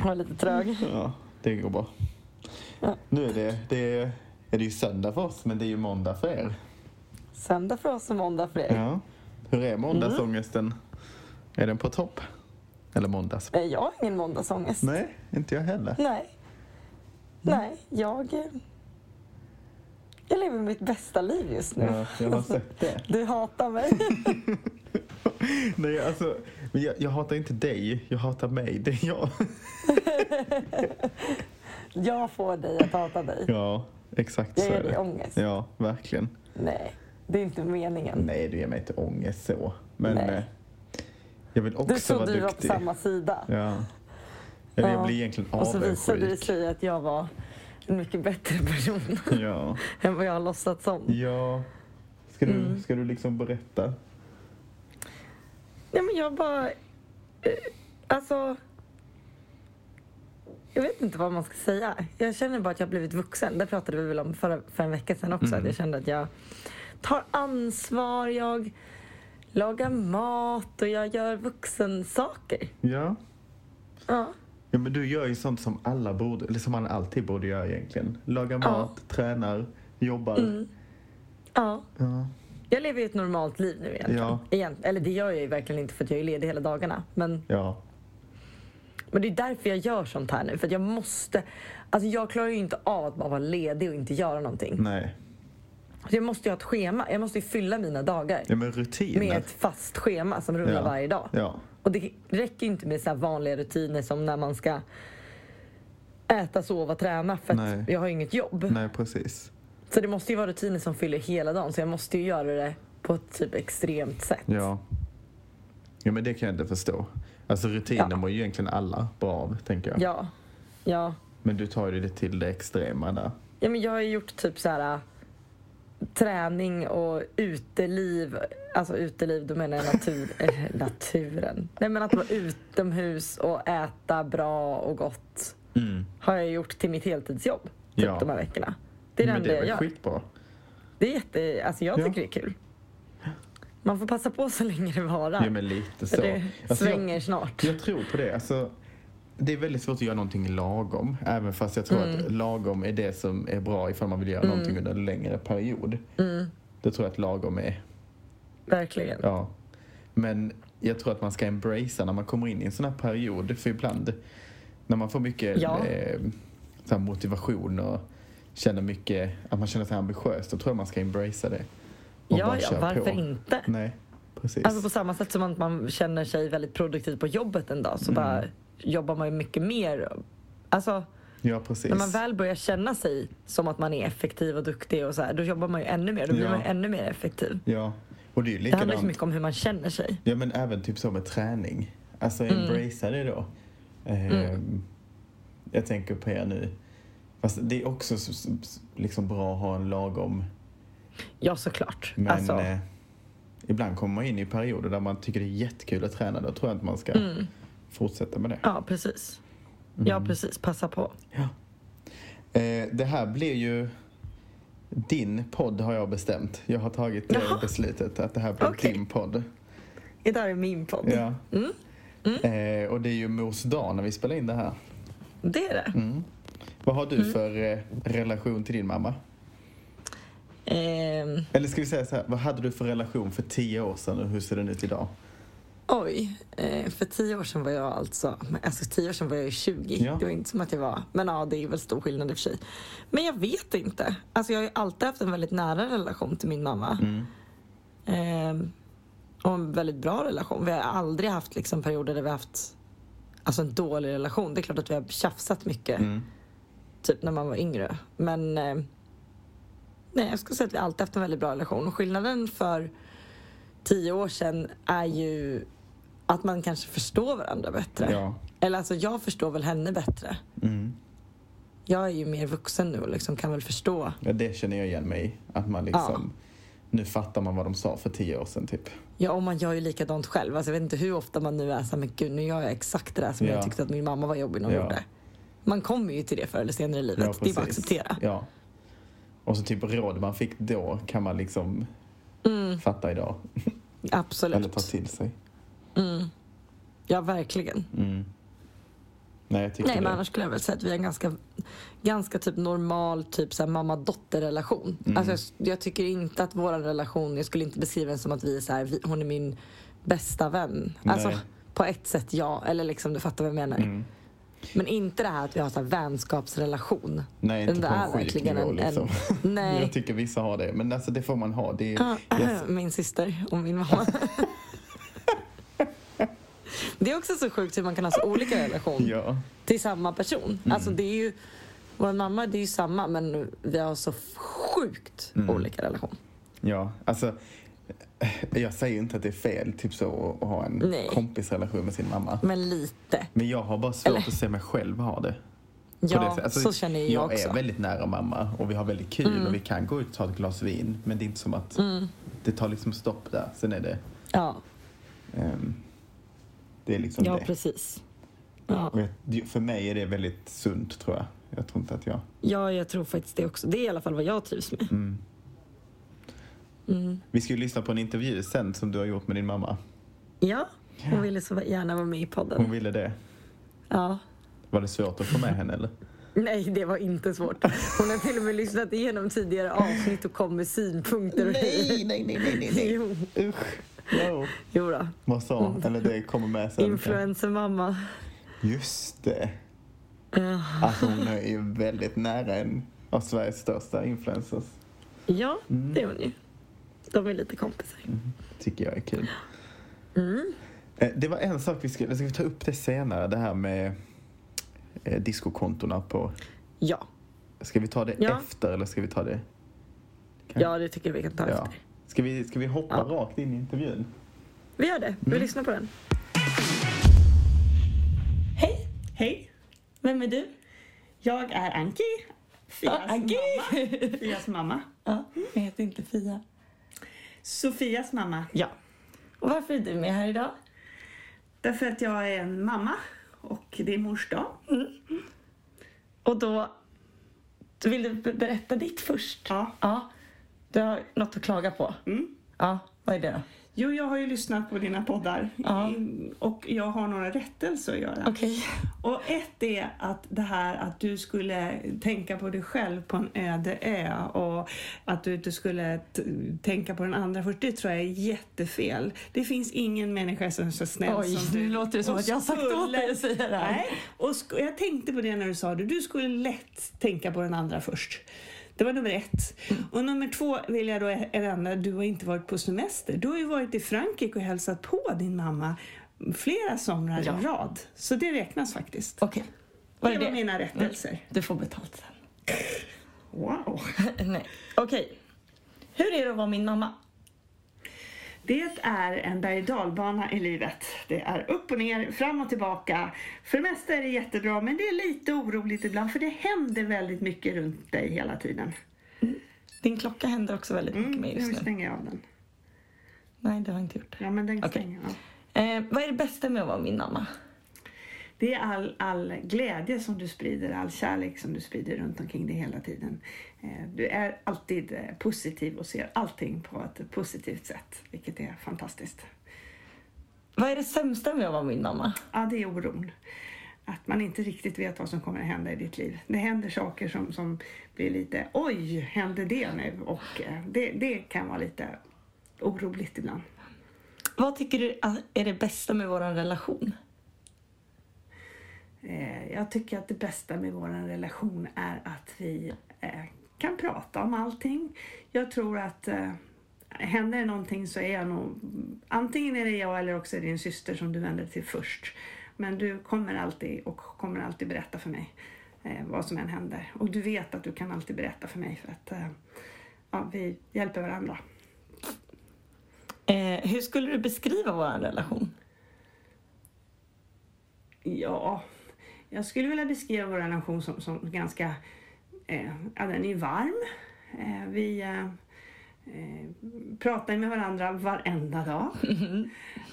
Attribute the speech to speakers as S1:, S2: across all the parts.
S1: Han var lite trög.
S2: Ja, det går bra.
S1: Ja.
S2: Nu är det, det är, är det ju söndag för oss, men det är ju måndag för er.
S1: Söndag för oss och måndag för er.
S2: Ja. Hur är måndagsångesten? Är den på topp? Eller måndags?
S1: Nej, Jag har ingen måndagsångest.
S2: Nej, inte jag heller.
S1: Nej. Nej, jag... eh, Jag lever mitt bästa liv just nu.
S2: Ja, jag har sett det.
S1: Du hatar mig.
S2: Nej, alltså, men jag, jag hatar inte dig, jag hatar mig. Det är jag.
S1: Jag får dig att hata dig.
S2: Ja, exakt
S1: Jag
S2: så
S1: ger
S2: är
S1: dig
S2: det.
S1: ångest. Mm.
S2: Ja, verkligen.
S1: Nej, det är inte meningen.
S2: Nej, du ger mig inte ångest så. Men
S1: Nej.
S2: eh, jag vill
S1: Du
S2: också vara
S1: trodde
S2: duktig.
S1: du var på samma sida.
S2: Ja. Eller jag
S1: Ja.
S2: blir egentligen
S1: Och så visade det
S2: avundsjuk.
S1: sig att jag var en mycket bättre person
S2: Ja.
S1: än vad jag har låtsats som.
S2: ja. Ska, du,
S1: Mm.
S2: ska du liksom berätta?
S1: Nej men jag bara... eh, Alltså... Jag vet inte vad man ska säga. Jag känner bara att jag har blivit vuxen. Det pratade vi väl om förra, för en vecka sedan också. Att jag kände att jag tar ansvar, jag lagar mat och jag gör vuxensaker.
S2: Ja.
S1: Ja.
S2: ja. men du gör ju sånt som alla borde, eller som man alltid borde göra egentligen. Lagar mat, tränar, jobbar.
S1: Mm. ja.
S2: Ja.
S1: Jag lever ju ett normalt liv nu egentligen.
S2: Ja.
S1: Egent- eller det gör jag ju verkligen inte för att jag är ledig hela dagarna. Men
S2: Ja.
S1: Men det är därför jag gör sånt här nu. För att jag måste... Alltså jag klarar ju inte av att bara vara ledig och inte göra någonting.
S2: Nej.
S1: Så Alltså, jag måste ju ha ett schema. Jag måste ju fylla mina dagar
S2: Ja, men rutiner.
S1: med ett fast schema som rullar
S2: ja.
S1: varje dag.
S2: Ja.
S1: Och det räcker ju inte med så här vanliga rutiner som när man ska äta, sova, träna för att
S2: Nej.
S1: jag har ju inget jobb.
S2: Nej, precis.
S1: Så det måste ju vara rutiner som fyller hela dagen. Så jag måste ju göra det på ett typ extremt sätt.
S2: Ja. Ja, men det kan jag inte förstå. Alltså rutiner
S1: Ja.
S2: mår ju egentligen alla bra av, tänker jag.
S1: Ja. ja.
S2: Men du tar ju det till det extrema där.
S1: Ja, men jag har ju gjort typ så här äh, träning och uteliv. Alltså uteliv, då menar jag natur, eh, naturen. Nej, men att vara utomhus och äta bra och gott har jag gjort till mitt heltidsjobb typ
S2: Ja.
S1: de här veckorna. Det är det
S2: men det
S1: enda
S2: är
S1: jag
S2: väl
S1: gör.
S2: skitbra?
S1: Det är jätte, alltså jag
S2: Ja.
S1: tycker det är kul. Man får passa på så länge det varar.
S2: Ja, men lite
S1: för
S2: så.
S1: det
S2: Alltså, jag-
S1: svänger snart.
S2: Jag tror på det. Alltså, det är väldigt svårt att göra någonting lagom. Även fast jag tror
S1: Mm.
S2: att lagom är det som är bra ifall man vill göra någonting under en längre period.
S1: Mm.
S2: Då tror jag att lagom är,
S1: Verkligen.
S2: ja. Men jag tror att man ska embracea när man kommer in i en sån här period. För ibland när man får mycket
S1: Ja.
S2: eh, så här motivation och känner mycket, att man känner sig ambitiös, då tror jag man ska embracea det. Och
S1: Ja,
S2: bara
S1: ja,
S2: köra
S1: varför
S2: på.
S1: inte?
S2: Nej, precis.
S1: Alltså på samma sätt som att man känner sig väldigt produktiv på jobbet en dag
S2: Mm.
S1: så bara jobbar man ju mycket mer. Alltså
S2: ja, precis.
S1: när man väl börjar känna sig som att man är effektiv och duktig och så här, då jobbar man ju ännu mer. Då blir
S2: Ja.
S1: man ju ännu mer effektiv.
S2: Ja, och det är ju
S1: Det handlar ju
S2: likadant.
S1: så mycket om hur man känner sig.
S2: Ja men även typ så med träning. Alltså
S1: Mm.
S2: embracea det då. Ehm, Jag tänker på er nu. Fast det är också s- s- s- liksom bra att ha en lagom.
S1: Ja, såklart.
S2: Men
S1: alltså,
S2: eh, ibland kommer man in i perioder där man tycker det är jättekul att träna. Då tror jag att man ska
S1: Mm.
S2: fortsätta med det.
S1: ja, precis.
S2: mm.
S1: Ja, precis. Passa på.
S2: Eh, det här blir ju din podd har jag bestämt. Jag har tagit det
S1: Jaha.
S2: beslutet att det här blir
S1: Okej. Mm.
S2: din podd.
S1: Det där är min podd.
S2: Ja. Eh, och det är ju mors dag när vi spelar in det här.
S1: Det är
S2: Mm.
S1: det.
S2: Vad har du
S1: Mm.
S2: för eh, relation till din mamma?
S1: Ehm,
S2: Eller ska vi säga så här, vad hade du för relation för tio år sedan och hur ser den ut idag?
S1: Oj, eh, för tio år sedan var jag alltså, alltså tio år sedan var jag ju 20.
S2: Ja.
S1: Det var inte som att jag var, men ja det är väl stor skillnad i och för sig. Men jag vet inte. Alltså jag har ju alltid haft en väldigt nära relation till min mamma. Ehm, och en väldigt bra relation. Vi har aldrig haft liksom perioder där vi har haft alltså en dålig relation. Det är klart att vi har tjafsat mycket. Typ när man var yngre. Men eh, nej, jag skulle säga att vi alltid haft en väldigt bra relation. Och skillnaden för tio år sedan är ju att man kanske förstår varandra bättre.
S2: Ja. Mm.
S1: Eller alltså jag förstår väl henne bättre. Jag är ju mer vuxen nu och liksom kan väl förstå.
S2: Ja, det känner jag igen mig i. Att man liksom, nu fattar man vad de sa för tio år sedan typ.
S1: Ja, och man gör ju likadant själv. Alltså, jag vet inte hur ofta man nu är såhär, men gud nu gör jag exakt det där som
S2: Ja.
S1: jag tyckte att min mamma var jobbig när hon
S2: Ja.
S1: gjorde. Man kommer ju till det förr eller senare i livet.
S2: Ja,
S1: det är bara att
S2: precis.
S1: acceptera.
S2: Ja. Och så typ råd man fick då kan man liksom
S1: Mm.
S2: fatta idag. Eller ta
S1: Absolut.
S2: till sig.
S1: Ja, verkligen.
S2: Nej, jag tycker
S1: Nej,
S2: det.
S1: men annars skulle jag väl säga att vi har en ganska, ganska typ normal typ så här mamma-dotter-relation.
S2: Mm.
S1: Alltså, jag, jag tycker inte att vår relation, jag skulle inte beskriva den som att vi är så här, vi, hon är min bästa vän. Alltså,
S2: Nej. Mm.
S1: på ett sätt ja, eller liksom du fattar vad jag menar. Men inte det här att vi har så här vänskapsrelation.
S2: Nej, inte
S1: det
S2: på en
S1: är
S2: sjuk
S1: verkligen
S2: nivå, liksom.
S1: en nej.
S2: Jag tycker vissa har det, men alltså det får man ha. Det är,
S1: Ja,
S2: jag,
S1: Min syster och min mamma. det är också så sjukt hur man kan ha så olika relation
S2: ja,
S1: till samma person. Alltså det är ju, vår mamma det är ju samma men vi har så sjukt olika relation.
S2: ja, alltså eh, jag säger ju inte att det är fel typ så, att ha en
S1: Nej.
S2: kompisrelation med sin mamma.
S1: Men lite.
S2: Men jag har bara svårt
S1: Eller-
S2: att se mig själv ha det. på det
S1: Ja,
S2: sättet. Alltså,
S1: så känner jag,
S2: jag
S1: också. Mm.
S2: är väldigt nära mamma och vi har väldigt kul och vi kan gå ut och ta ett glas vin. Men det är inte som att det tar liksom stopp där. Sen är det,
S1: Ja,
S2: ehm, det är liksom
S1: ja
S2: det.
S1: precis. Ja.
S2: Och jag, det- för mig är det väldigt sunt tror jag. Jag tror inte att jag...
S1: ja, jag tror faktiskt det också. Det är i alla fall vad jag trivs med.
S2: Vi ska ju lyssna på en intervju sen som du har gjort med din mamma.
S1: Ja, hon ville så gärna vara med i
S2: Hon
S1: podden.
S2: ville det.
S1: Ja.
S2: Var det svårt att få med henne eller?
S1: Nej, det var inte svårt. Hon har till och med lyssnat igenom tidigare avsnitt och kom med synpunkter. och grejer.
S2: nej, nej, nej,
S1: Jo,
S2: Usch. No.
S1: jo då.
S2: Vad sa Eller det kommer med sen.
S1: Influencer-mamma.
S2: Just det.
S1: Ja.
S2: Alltså hon är ju väldigt nära en av Sveriges största influencers.
S1: Ja, det är hon ju. De är lite kompisar.
S2: Tycker jag är kul.
S1: Mm.
S2: Eh, Det var en sak vi skulle, ska vi ta upp det senare, det här med eh, discokontona på...
S1: Ja,
S2: Ska vi ta det
S1: Ja.
S2: efter eller ska vi ta det...
S1: ja det tycker jag vi kan ta efter.
S2: Ska vi, ska vi hoppa
S1: Ja.
S2: rakt in i intervjun?
S1: Vi gör det. Vi
S3: Mm.
S1: lyssnar på den.
S4: Hej!
S3: Hej!
S4: Vem är du?
S3: Jag är Anki. Fias
S4: Anki.
S3: mamma. Fias mamma.
S4: Ja, jag heter inte Fia.
S3: Sofias mamma.
S4: Ja. Och varför är du med här idag?
S3: Därför att jag är en mamma och det är mors dag.
S4: Och då... Du ville be- berätta ditt först.
S3: Ja.
S4: Ja. Du har något att klaga på?
S3: Mm.
S4: Ja, vad är det då?
S3: Jo, jag har ju lyssnat på dina poddar
S4: Ja.
S3: I- och jag har några rättelser att göra.
S4: Okej.
S3: Och ett är att det här att du skulle tänka på dig själv på en öde ö och att du inte skulle t- tänka på den andra först, det tror jag är jättefel. Det finns ingen människa som är så snäll
S4: Oj,
S3: som du.
S4: nu låter det som
S3: Och
S4: att jag har sagt åt dig att säga det här.
S3: Nej, och sk- jag tänkte på det när du sa det. Du skulle lätt tänka på den andra först. Det var nummer ett. Och nummer två vill jag då ändra. Du har inte varit på semester. Du har ju varit i Frankrike och hälsat på din mamma flera somrar
S4: Ja.
S3: i rad. Så det räknas faktiskt.
S4: Okej. Vad
S3: Det
S4: är
S3: var
S4: det? Mm.
S3: mina rättelser.
S4: Du får betalt sen.
S3: Wow.
S4: Nej. Okej. Hur är det att vara min mamma?
S3: Det är en berg och dalbana i livet. Det är upp och ner, fram och tillbaka. För det mesta är det jättebra, men det är lite oroligt ibland för det händer väldigt mycket runt dig hela tiden. Mm,
S4: Din klocka händer också väldigt mycket med
S3: nu
S4: just nu.
S3: stänger jag av den.
S4: Nej, det har jag inte gjort.
S3: Ja, men den
S4: Okej.
S3: stänger jag av.
S4: Eh, vad är det bästa med att vara min mamma?
S3: Det är all, all glädje som du sprider, all kärlek som du sprider runt omkring dig hela tiden. Eh, Du är alltid eh, positiv och ser allting på ett positivt sätt, vilket är fantastiskt.
S4: Vad är det sämsta med att vara min mamma?
S3: Ja, det är oron. Att man inte riktigt vet vad som kommer att hända i ditt liv. Det händer saker som, som blir lite oj, hände det nu? Och eh, det, det kan vara lite oroligt ibland.
S4: Vad tycker du att- är det bästa med vår relation?
S3: Eh, Jag tycker att det bästa med vår relation är att vi eh, kan prata om allting. Jag tror att eh, händer det någonting så är jag nog... Antingen är det jag eller också är det din syster som du vänder dig till först. Men du kommer alltid och kommer alltid berätta för mig eh, vad som än händer. Och du vet att du kan alltid berätta för mig för att eh, ja, vi hjälper varandra.
S4: Eh, hur skulle du beskriva vår relation?
S3: Ja, jag skulle vilja beskriva vår relation som, som ganska... Eh, ja, den är varm. Eh, vi eh, eh, pratar med varandra varenda dag.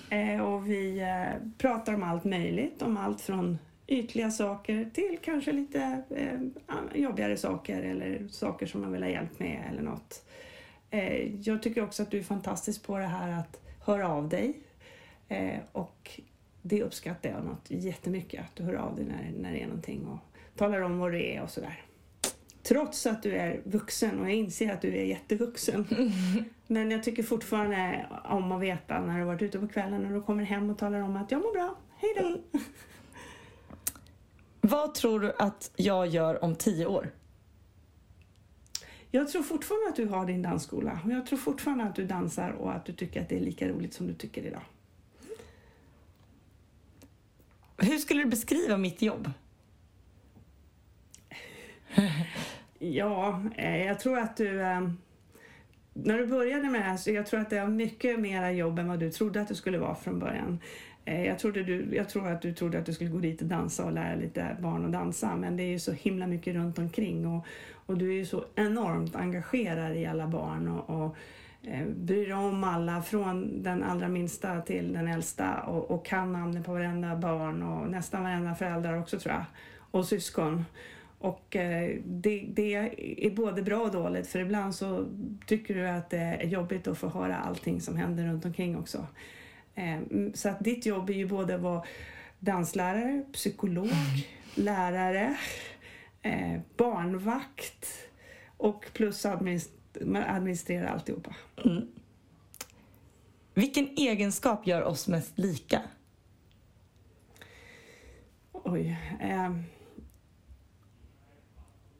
S3: Eh, och vi eh, pratar om allt möjligt. Om allt från ytliga saker till kanske lite eh, jobbigare saker eller saker som man vill ha hjälp med eller något. Eh, jag tycker också att du är fantastisk på det här att höra av dig. Eh, och det uppskattar jag något jättemycket, att du hör av dig när, när det är någonting och talar om vad det är och sådär. Trots att du är vuxen och jag inser att du är jättevuxen. Men jag tycker fortfarande om att veta när du varit ute på kvällen och du kommer hem och talar om att jag mår bra, hej då.
S4: Vad tror du att jag gör om tio år?
S3: Jag tror fortfarande att du har din dansskola och jag tror fortfarande att du dansar och att du tycker att det är lika roligt som du tycker idag.
S4: Hur skulle du beskriva mitt jobb?
S3: Ja, eh, jag tror att du... eh, När du började med det här så jag tror att det var mycket mera jobb än vad du trodde att det skulle vara från början. Eh, Jag, trodde du, jag tror att du trodde att du skulle gå dit och dansa och lära lite barn att dansa men det är ju så himla mycket runt omkring och, och du är ju så enormt engagerad i alla barn och, och eh, bryr dig om alla från den allra minsta till den äldsta och, och kan namnet på varenda barn och nästan varenda föräldrar också tror jag och syskon. Och eh, det, det är både bra och dåligt för ibland så tycker du att det är jobbigt att få höra allting som händer runt omkring också. Eh, mm, Så att ditt jobb är ju både att vara danslärare, psykolog, lärare, eh, barnvakt och plus administ- administrera alltihopa.
S4: Vilken egenskap gör oss mest lika?
S3: Oj. ehm.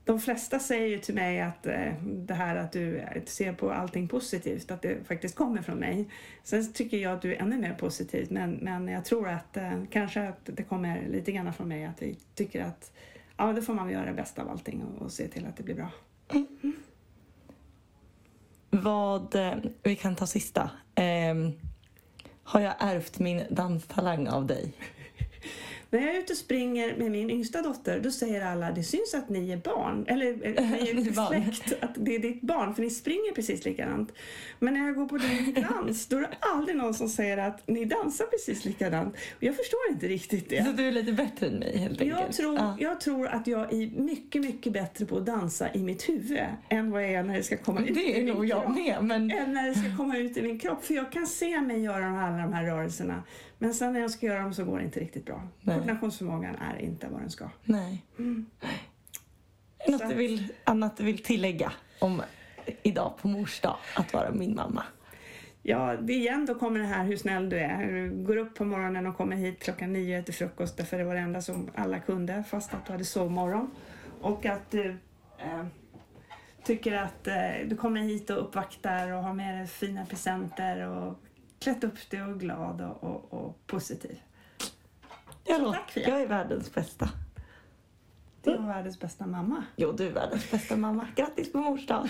S3: de flesta säger ju till mig att eh, det här att du ser på allting positivt, att det faktiskt kommer från mig. Sen tycker jag att du är ännu mer positiv, men, men jag tror att eh, kanske att det kommer lite grann från mig att vi tycker att ja, då får man väl göra det bästa av allting och, och se till att det blir bra.
S4: Vad, eh, vi kan ta sista. Ehm, har jag ärvt min danstalang av dig?
S3: När jag är ute och springer med min yngsta dotter då säger alla det syns att ni är barn, eller eh, ni
S4: Ni är
S3: är
S4: barn.
S3: släkt, att det är ditt barn för ni springer precis likadant. Men när jag går på din dans då är det aldrig någon som säger att ni dansar precis likadant. Och jag förstår inte riktigt
S4: Så
S3: det.
S4: du Ah. är lite bättre än mig helt
S3: Jag
S4: enkelt?
S3: tror,
S4: Ja.
S3: jag tror att jag är mycket, mycket bättre på att dansa i mitt huvud än vad jag är när det ska komma ut.
S4: Det
S3: i
S4: är
S3: min
S4: nog jag
S3: kropp
S4: med, men
S3: än Eh, när det ska komma ut i min kropp. För jag kan se mig göra de här, alla de här rörelserna. Men sen när jag ska göra dem så går det inte riktigt bra.
S4: Nej.
S3: Koordinationsförmågan är inte vad den ska.
S4: nej.
S1: Mm.
S4: Är det Något du vill, annat du vill tillägga om idag på mors dag, att vara min mamma?
S3: Ja, det igen då kommer det här hur snäll du är. Du går upp på morgonen och kommer hit klockan nio och äter frukost därför det var det enda som alla kunde fast att du hade sovmorgon. Och att du eh, tycker att eh, du kommer hit och uppvaktar och har med dig fina presenter och klätt upp dig och är glad och, och, och positiv.
S4: Jag,
S3: Så
S4: låter,
S3: tack, Fia.
S4: jag är världens bästa.
S3: Du är världens bästa mamma.
S4: Jo, du är världens bästa mamma. Grattis på mors dag.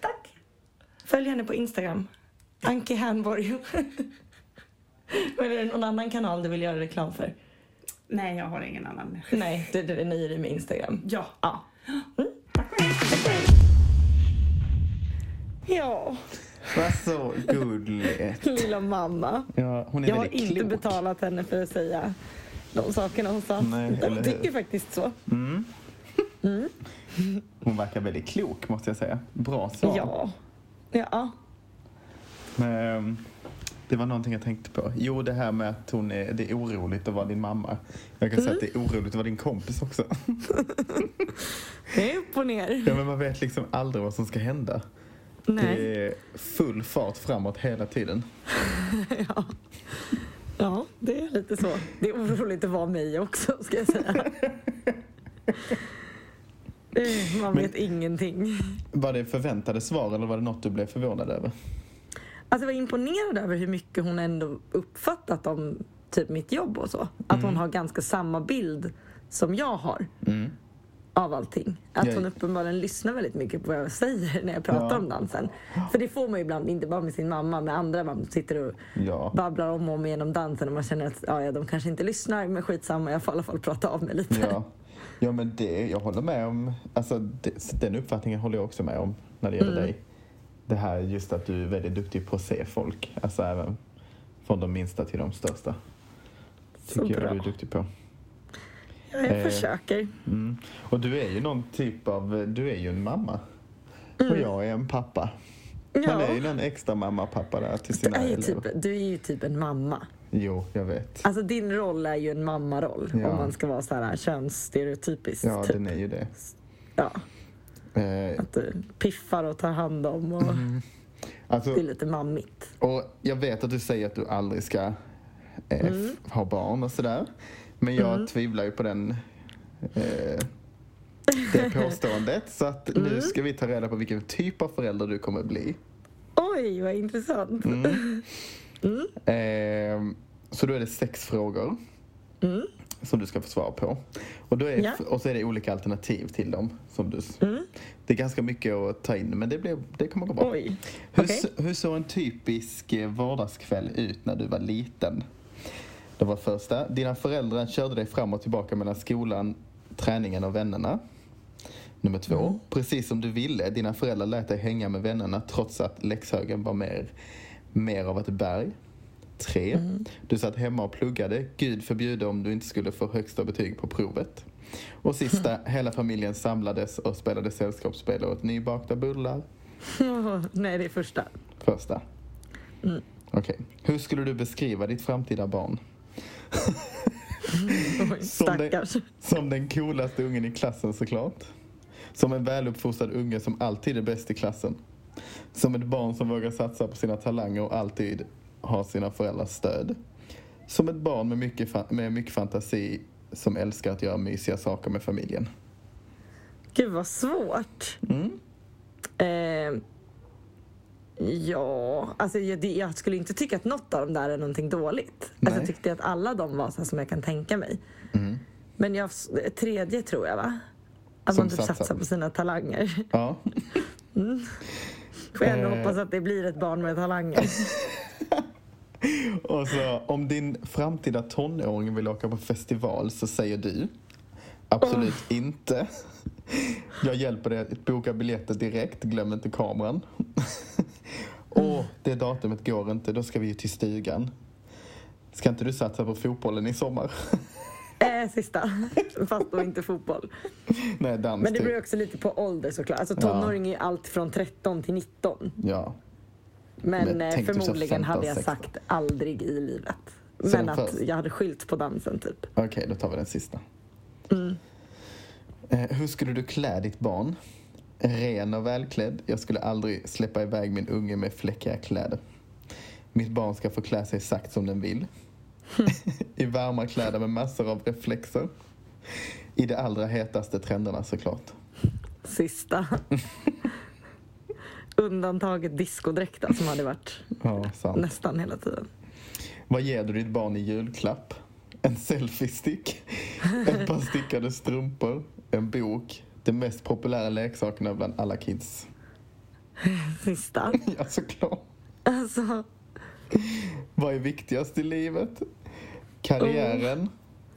S3: Tack!
S4: Följ henne på Instagram. Anki Hernborg. Men är det någon annan kanal du vill göra reklam för?
S3: Nej, jag har ingen annan.
S4: Nej, du, du är nöjd med Instagram.
S3: Ja.
S4: Ja.
S3: Tack och hej.
S1: Ja,
S2: Vad så gulligt.
S1: lilla mamma.
S2: Ja, hon är
S1: Jag har
S2: väldigt
S1: inte
S2: klok.
S1: betalat henne för att säga de sakerna hon sa.
S2: Nej, eller
S1: de
S2: hur?
S1: tycker faktiskt så.
S2: Mm. Hon verkar väldigt klok måste jag säga. Bra svar.
S1: Ja. Ja.
S2: Men, ehm, det var någonting jag tänkte på. Jo, det här med att hon är, det är oroligt att vara din mamma. Jag kan säga att det är oroligt att vara din kompis också.
S1: Det är upp och ner.
S2: Ja, men man vet liksom aldrig vad som ska hända.
S1: Nej.
S2: Det är full fart framåt hela tiden.
S1: Ja. ja, det är lite så. Det är oroligt att vara mig också, ska jag säga. Eh, Man
S2: Men-
S1: vet ingenting.
S2: Var det förväntade svar eller var det något du blev förvånad över?
S1: Alltså jag var imponerad över hur mycket hon ändå uppfattat om typ mitt jobb och så. Att hon har ganska samma bild som jag har
S2: Mm.
S1: av allting. Att
S2: Jag-
S1: hon uppenbarligen lyssnar väldigt mycket på vad jag säger när jag pratar
S2: Ja.
S1: om dansen. För det får man ju ibland, inte bara med sin mamma, med andra man sitter och
S2: Ja.
S1: babblar om och om genom dansen och man känner att ja, ja, de kanske inte lyssnar men skitsamma, jag får i alla fall prata av mig lite.
S2: Ja, ja men det, jag håller med om, alltså det, så den uppfattningen håller jag också med om när det gäller
S1: Mm.
S2: dig. Det här just att du är väldigt duktig på att se folk, alltså även från de minsta till de största.
S1: Så
S2: Tycker jag
S1: bra.
S2: du är duktig på.
S1: Ja, jag
S2: Eh.
S1: försöker.
S2: Mm. Och du är ju någon typ av, du är ju en mamma. Och jag är en pappa. Man
S1: Mm. Ja.
S2: är ju en extra mamma och pappa där till
S1: Du
S2: sina
S1: är, ju
S2: elever.
S1: typ, du är ju typ en mamma.
S2: Jo, jag vet.
S1: Alltså din roll är ju en mammaroll
S2: Ja.
S1: om man ska vara så här könsstereotypiskt.
S2: Ja,
S1: typ.
S2: den är ju det.
S1: ja,
S2: Eh,
S1: att du piffar och tar hand om och
S2: alltså,
S1: det är lite mammigt.
S2: Och jag vet att du säger att du aldrig ska eh,
S1: Mm.
S2: f- ha barn och sådär. Men jag tvivlar ju på den, eh, det påståendet. Så att
S1: Mm.
S2: nu ska vi ta reda på vilken typ av förälder du kommer bli.
S1: Oj, vad intressant.
S2: Mm. Eh, så då är det sex frågor som du ska få svar på. Och, då är,
S1: Mm. Ja. Mm.
S2: och så är det olika alternativ till dem. Som du, s- Det är ganska mycket att ta in men det, blir, det kommer gå bra.
S1: Oj.
S2: Hur,
S1: Okej.
S2: s- hur såg en typisk eh, vardagskväll ut när du var liten? Det var första. Dina föräldrar körde dig fram och tillbaka mellan skolan, träningen och vännerna. Nummer två. Precis som du ville, dina föräldrar lät dig hänga med vännerna trots att läxhögen var mer, mer av ett berg. Tre. Du satt hemma och pluggade. Gud förbjude om du inte skulle få högsta betyg på provet. Och sista, hela familjen samlades och spelade sällskapsspel och åt nybakta bullar.
S1: Nej, det är första.
S2: Första. Okej. Hur skulle du beskriva ditt framtida barn?
S1: Oj,
S2: Som det-
S1: stackars.
S2: Som den coolaste ungen i klassen såklart. Som en väluppfostrad unge som alltid är bäst i klassen. Som ett barn som vågar satsa på sina talanger och alltid har sina föräldrars stöd. Som ett barn med mycket, fa- med mycket fantasi som älskar att göra mysiga saker med familjen.
S1: Gud vad svårt.
S2: Mm.
S1: Eh, ja, alltså jag, det- jag skulle inte tycka att något av dem där är någonting dåligt. Alltså,
S2: Nej. Mm.
S1: jag tyckte att alla de var så här som jag kan tänka mig. Men jag, tredje tror jag va? Att
S2: Som
S1: man typ
S2: satsar.
S1: satsar. på sina talanger.
S2: Ja.
S1: Får jag ändå
S2: Eh.
S1: hoppas att det blir ett barn med talanger.
S2: Och så, om din framtida tonåring vill åka på festival så säger du absolut inte. Jag hjälper dig att boka biljetter direkt, glöm inte kameran.
S1: Mm.
S2: Åh, det datumet går inte, då ska vi ju till stugan. Ska inte du satsa på fotbollen i sommar?
S1: Eh, sista. Fast då inte fotboll.
S2: Nej, dans
S1: Men det
S2: typ.
S1: beror också lite på ålder såklart. Alltså
S2: Ja.
S1: tonåring är ju allt från 13 till 19.
S2: Ja. Men
S1: Men eh,
S2: tänk typ så här
S1: förmodligen hade jag
S2: 15,
S1: sagt aldrig i livet.
S2: Så
S1: Men
S2: den
S1: att
S2: först-
S1: jag hade skylt på dansen typ.
S2: Okej, då tar vi den sista. Eh, hur skulle du klä ditt barn? Ren och välklädd. Jag skulle aldrig släppa iväg min unge med fläckiga kläder. Mitt barn ska få klä sig exakt som den vill. I varma kläder med massor av reflexer. I de allra hetaste trenderna såklart.
S1: Sista. Undantaget discodräkten alltså, som hade varit
S2: Ja, sant.
S1: nästan hela tiden.
S2: Vad ger du ditt barn i julklapp? En selfiestick? Ett par stickade strumpor? En bok? Den mest populära leksakerna bland alla kids.
S1: Sista.
S2: Ja, såklart.
S1: Alltså,
S2: Vad är viktigast i livet? Karriären,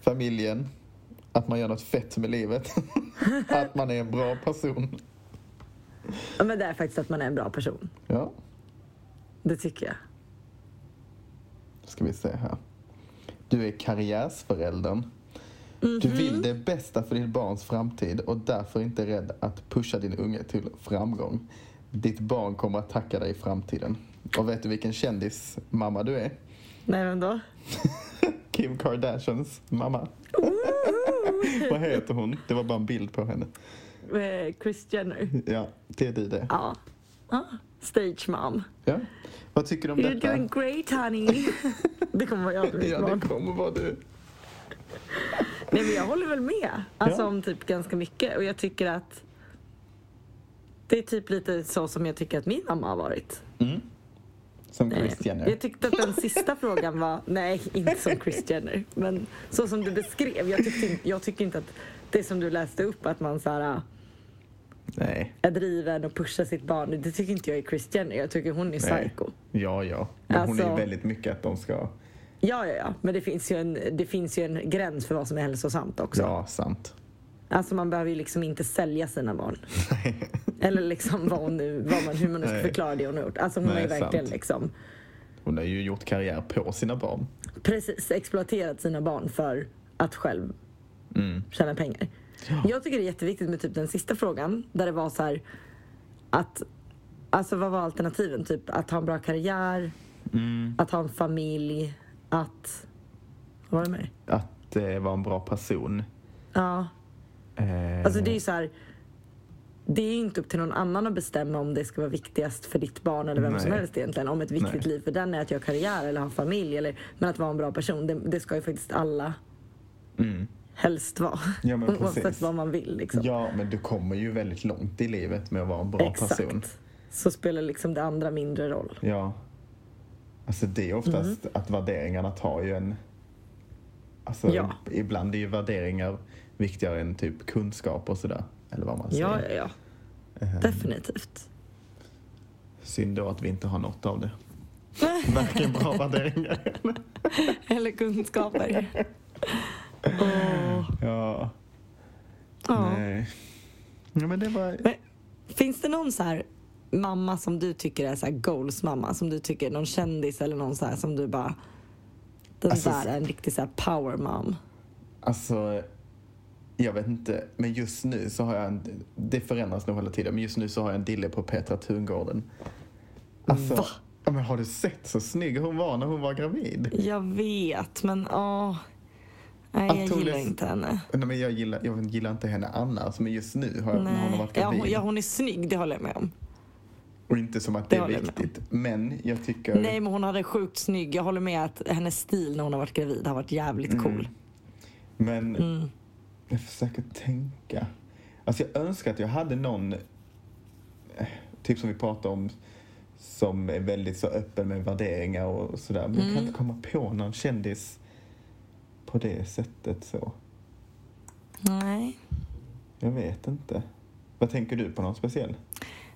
S2: familjen, att man gör något fett med livet, att man är en bra person.
S1: ja, men det är faktiskt att man är en bra person.
S2: Ja,
S1: Det tycker jag.
S2: ska vi se här. Du är karriärsföräldern. Du vill det bästa för ditt barns framtid och därför inte är rädd att pusha din unge till framgång. Ditt barn kommer att tacka dig i framtiden. Och vet du vilken kändis mamma du är?
S1: Nej, vem då?
S2: Kim Kardashians mamma. Vad heter hon? Det var bara en bild på henne.
S1: Eh, Chris Jenner.
S2: Ja, det är det.
S1: Ja. ja. Stage mom.
S2: Ja. Vad tycker du om
S1: You're
S2: detta?
S1: doing great honey. Det kommer vara jag med mitt
S2: Ja,
S1: barn.
S2: det kommer vara du.
S1: Nej men jag håller väl med. Alltså
S2: Ja.
S1: om typ ganska mycket. Och jag tycker att det är typ lite så som jag tycker att min mamma har varit.
S2: Som
S1: Eh,
S2: Chris Jenner.
S1: Jag tyckte att den sista frågan var, nej inte som Chris Jenner, men så som du beskrev. Jag, tyckte inte, jag tycker inte att det som du läste upp, att man så här, äh,
S2: Nej.
S1: är driven och pushar sitt barn, det tycker inte jag är Chris Jenner. Jag tycker hon är
S2: Nej.
S1: psycho.
S2: Ja, ja. Men hon är ju
S1: Alltså-
S2: väldigt mycket att de ska...
S1: Ja, ja, ja, men det finns, ju en, det finns ju en gräns för vad som är hälsosamt också.
S2: Ja, sant.
S1: Alltså man behöver ju liksom inte sälja sina barn. Eller liksom vad hon nu, vad man, hur man nu ska
S2: Nej.
S1: förklara det hon har gjort. Alltså hon har
S2: Nej,
S1: ju verkligen
S2: sant.
S1: liksom
S2: Hon har ju gjort karriär på sina barn.
S1: precis exploaterat sina barn för att själv
S2: Mm.
S1: tjäna pengar. Jag tycker det är jätteviktigt med typ den sista frågan där det var så här att
S2: Mm.
S1: Alltså vad var alternativen? Typ att ha en bra karriär, att ha en familj, att... Vad var det med?
S2: Att eh, vara en bra person.
S1: Ja,
S2: Eh,
S1: alltså det är ju så här... Det är ju inte upp till någon annan att bestämma om det ska vara viktigast för ditt barn eller vem som
S2: Nej.
S1: helst egentligen. Om ett viktigt
S2: Nej.
S1: liv för den är att göra karriär eller ha familj. Eller, men att vara en bra person, det, det ska ju faktiskt alla
S2: mm.
S1: helst vara.
S2: Ja, men
S1: Oavsett
S2: precis.
S1: vad man vill liksom.
S2: Eh, Ja, men du kommer ju väldigt långt i livet med att vara en bra
S1: Exakt.
S2: person.
S1: Så spelar liksom det andra mindre roll.
S2: Ja. Alltså det är oftast
S1: Mm.
S2: att värderingarna tar ju en... Alltså
S1: Ja.
S2: ibland är ju värderingar viktigare än typ kunskap och sådär. Eller vad man säger.
S1: Ja, ja, ja.
S2: Ehm,
S1: Definitivt.
S2: Synd då att vi inte har något av det. Varken bra värderingar.
S1: Eller kunskaper. Åh.
S2: Ja.
S1: Ja.
S2: Nej. Ja, men det var...
S1: Men, finns det någon så här mamma som du tycker är så här goals-mamma? Som du tycker är någon kändis eller någon så här som du bara... Den
S2: Alltså,
S1: där är en riktig så här power mom.
S2: Alltså, jag vet inte. Men just nu så har jag en, Det förändras nog hela tiden. Men just nu så har jag en dille på Petra Tungården. Alltså,
S1: Va?
S2: Ja, men har du sett så snygg hon var när hon var gravid?
S1: Jag vet, men åh. Nej,
S2: Att
S1: jag
S2: hon
S1: gillar
S2: är-
S1: inte henne.
S2: Nej, men jag, gillar, jag gillar inte henne annars, men just nu har jag, när hon har
S1: Nej.
S2: varit
S1: Ja,
S2: gravid.
S1: hon, ja, hon är snygg, det håller jag med om.
S2: Och inte som att det,
S1: det
S2: är
S1: håller jag med om.
S2: viktigt. Men jag tycker...
S1: Nej, men hon hade sjukt snygg. Jag håller med att hennes stil när hon har varit gravid har varit jävligt
S2: Mm.
S1: cool.
S2: Men
S1: Mm.
S2: jag försöker tänka. Alltså jag önskar att jag hade någon, eh, typ som vi pratade om, som är väldigt så öppen med värderingar och sådär. Men
S1: Mm.
S2: jag kan inte komma på någon kändis på det sättet så.
S1: Nej.
S2: Jag vet inte. Vad tänker du på någon speciell?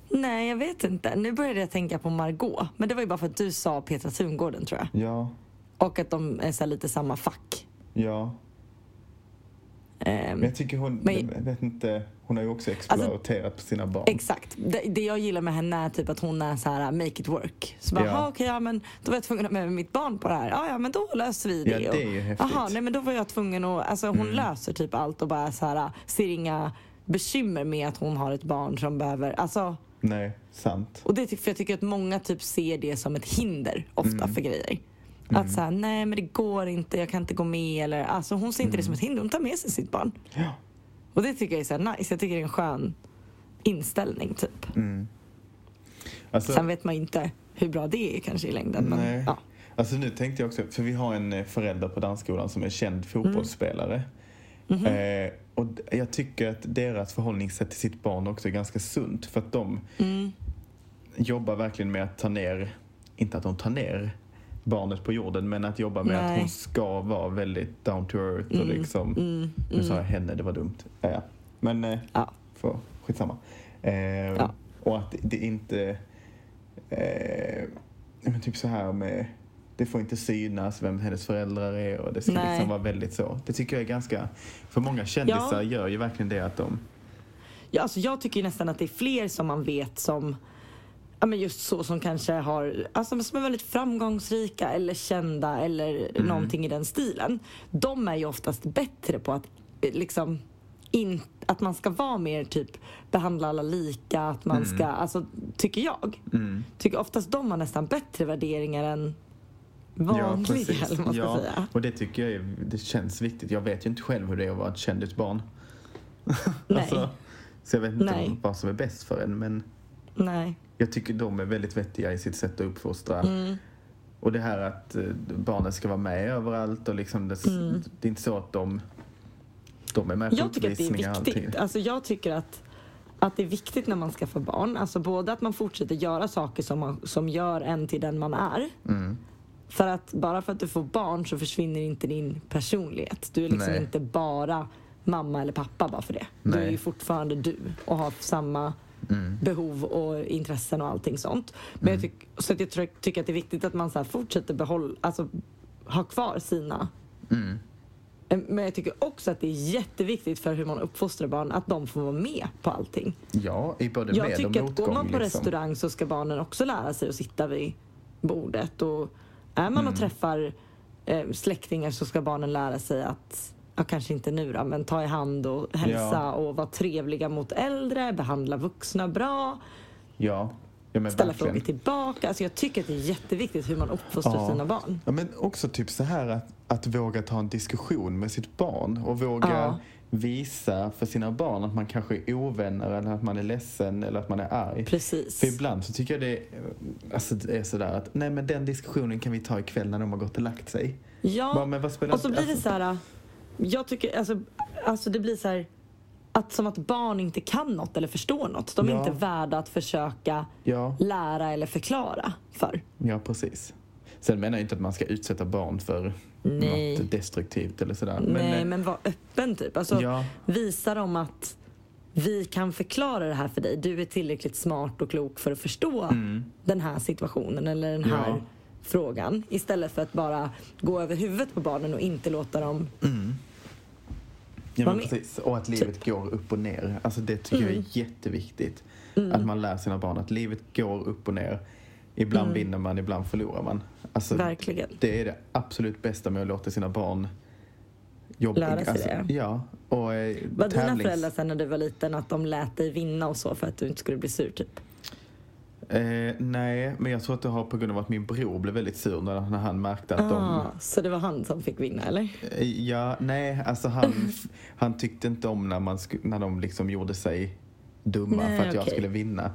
S1: Nej, jag vet inte. Nu började jag tänka på Margot. Men det var ju bara för att du sa Petra Tungården tror jag.
S2: Ja,
S1: Och att de är så här lite samma fack.
S2: ja.
S1: Ehm,
S2: Men jag tycker hon,
S1: Men- Alltså-
S2: jag vet inte, hon har ju också exploaterat sina barn.
S1: Exakt. Det, det jag gillar med henne är typ att hon är så här make it work. Så bara,
S2: Ja.
S1: ja. okej, ja men då var jag tvungen att ha med mig mitt barn på det här. Ja, ja men då löser vi det.
S2: Ja, det är ju häftigt. Mm.
S1: Jaha, nej men då var jag tvungen att, alltså hon löser typ allt och bara så här ser inga bekymmer med att hon har ett barn som behöver, alltså
S2: Nej, sant.
S1: Och det, ty- för jag tycker att många typ ser det som ett hinder ofta
S2: Mm.
S1: för grejer. Att säga nej men det går inte, jag kan inte gå med. Eller, alltså hon ser inte
S2: Mm.
S1: det som ett hinder, hon tar med sig sitt barn.
S2: Ja.
S1: Och det tycker jag är så här nice, jag tycker det är en skön inställning typ.
S2: Mm. Alltså,
S1: Sen vet man inte hur bra det är kanske i längden.
S2: Nej.
S1: Men, ja.
S2: Alltså nu tänkte jag också, för vi har en eh, förälder på dansskolan som är
S1: Mm.
S2: känd fotbollsspelare.
S1: Mhm.
S2: Eh, och d- jag tycker att deras förhållningssätt till sitt barn också är ganska sunt för att de
S1: Mm,
S2: jobbar verkligen med att ta ner, inte att de tar ner barnet på jorden, men att jobba med att
S1: Nej.
S2: hon ska vara väldigt down to earth
S1: mm,
S2: och liksom, nu sa jag henne, det var dumt. Ja, ja. Men eh,
S1: Ja.
S2: för, skitsamma. Eh,
S1: Ja.
S2: Och att det inte... Eh, men typ så här med... Det får inte synas vem hennes föräldrar är och det ska
S1: Nej.
S2: liksom vara väldigt så. Det tycker jag är ganska... För många kändisar gör ju verkligen det att de...
S1: Ja, alltså jag tycker ju nästan att det är fler som man vet som Ja, men just så som kanske har, alltså som är väldigt framgångsrika eller kända eller
S2: Mm.
S1: någonting i den stilen. De är ju oftast bättre på att eh, liksom in, att man ska vara mer typ behandla alla lika, att
S2: Mm.
S1: man ska, alltså tycker jag. Tycker oftast de har nästan bättre värderingar än vanliga eller vad man ska
S2: ja,
S1: säga.
S2: och det tycker jag är, det känns viktigt. Jag vet ju inte själv hur det är att vara ett kändisbarn.
S1: Nej.
S2: Alltså, så jag vet inte
S1: Nej.
S2: vad som är bäst för en men...
S1: Nej.
S2: Jag tycker de är väldigt vettiga i sitt sätt att uppfostra.
S1: Mm.
S2: Och det här att eh, barnen ska vara med överallt och liksom det, det är inte så att de, de är med på
S1: Mm. Jag tycker att det är
S2: uppvisningar
S1: viktigt.
S2: alltid.
S1: Alltså jag tycker att, att det är viktigt när man skaffar barn. Alltså både att man fortsätter göra saker som, man, som gör en till den man är.
S2: Mm.
S1: För att bara för att du får barn så försvinner inte din personlighet. Du är liksom
S2: Nej.
S1: inte bara mamma eller pappa bara för det. Du
S2: Nej.
S1: är ju fortfarande du och har samma behov och intressen och allting sånt. Men jag tyck, så att jag tror- tycker att det är viktigt att man så här fortsätter behålla, alltså ha kvar sina Eh, men jag tycker också att det är jätteviktigt för hur man uppfostrar barn att de får vara med på allting.
S2: Ja, i både
S1: Jag
S2: med
S1: tycker
S2: och
S1: att går
S2: motgång.
S1: man på
S2: liksom.
S1: restaurang så ska barnen också lära sig att sitta vid bordet. Och är man
S2: Mm.
S1: och träffar eh, släktingar så ska barnen lära sig att Ja, kanske inte nu då, men ta i hand och hälsa
S2: Ja.
S1: och vara trevliga mot äldre, behandla vuxna bra.
S2: Ja, Ja, men
S1: ställa
S2: verkligen.
S1: frågor tillbaka. Alltså jag tycker att det är jätteviktigt hur man uppfostrar
S2: Ja.
S1: sina barn.
S2: Ja, men också typ så här att, att våga ta en diskussion med sitt barn och våga
S1: Ja.
S2: visa för sina barn att man kanske är ovänner eller att man är ledsen eller att man är arg.
S1: Precis.
S2: För ibland så tycker jag det är, alltså det är sådär att nej men den diskussionen kan vi ta ikväll när de har gått och lagt sig. Bara,
S1: Ja,
S2: men vad spelar
S1: och så blir det
S2: alltså,
S1: så här... Jag tycker, alltså, alltså det blir så här... Att som att barn inte kan något eller förstår något. De är
S2: Ja.
S1: inte värda att försöka
S2: Ja,
S1: lära eller förklara för.
S2: ja precis. Sen menar jag inte att man ska utsätta barn för
S1: Nej.
S2: något destruktivt eller sådär.
S1: Nej,
S2: eh,
S1: men var öppen typ. Alltså,
S2: Ja.
S1: Visa dem att vi kan förklara det här för dig. Du är tillräckligt smart och klok för att förstå den här situationen eller den här
S2: Mm. Ja.
S1: frågan. Istället för att bara gå över huvudet på barnen och inte låta dem...
S2: Ja, men
S1: Vad mer? Typ. Mm.
S2: precis. Och att livet går upp och ner. Alltså det tycker jag är jätteviktigt. Att man lär sina barn att livet går upp och ner. Ibland vinner man, ibland förlorar man. Alltså,
S1: Mm. Verkligen.
S2: Det är det absolut bästa med att låta sina barn jobba.
S1: Lära sig
S2: alltså,
S1: det.
S2: Ja. Och, eh,
S1: Var dina
S2: tävlings-
S1: föräldrar sen när du var liten att de lät dig vinna och så för att du inte skulle bli sur typ?
S2: Eh, nej, men jag tror att det har på grund av att min bror blev väldigt sur när, när han märkte att de...
S1: Ah, så det var han som fick vinna eller?
S2: Eh, Ja, nej, alltså han, han tyckte inte om när, man sku, när de liksom gjorde sig dumma
S1: Nej,
S2: för att jag
S1: okej.
S2: skulle vinna.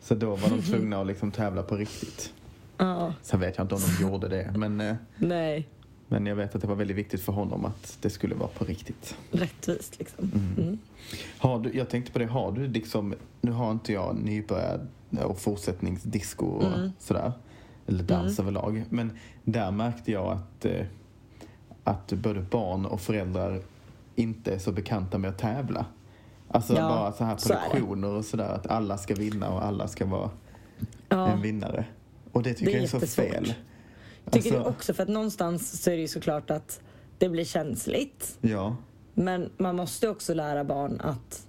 S2: Så då var de tvungna att liksom tävla på riktigt.
S1: Ja,
S2: Sen vet jag inte om de gjorde det, men, eh,
S1: nej.
S2: men jag vet att det var väldigt viktigt för honom att det skulle vara på riktigt.
S1: Rättvist liksom.
S2: Mm. Har du, jag tänkte på det, har du liksom, nu har inte jag nybörjar och fortsättningsdisco och
S1: Mm.
S2: sådär, eller dans överlag, men där märkte jag att, eh, att både barn och föräldrar inte är så bekanta med att tävla. Alltså
S1: Ja,
S2: bara så här
S1: så är det.
S2: produktioner och sådär, att alla ska vinna och alla ska vara
S1: Ja.
S2: en vinnare. Och det tycker
S1: Det är
S2: jag är så
S1: jättesvårt.
S2: fel.
S1: Tycker
S2: Alltså,
S1: du också? För att någonstans så är det ju såklart att det blir känsligt.
S2: Ja,
S1: Men man måste också lära barn att,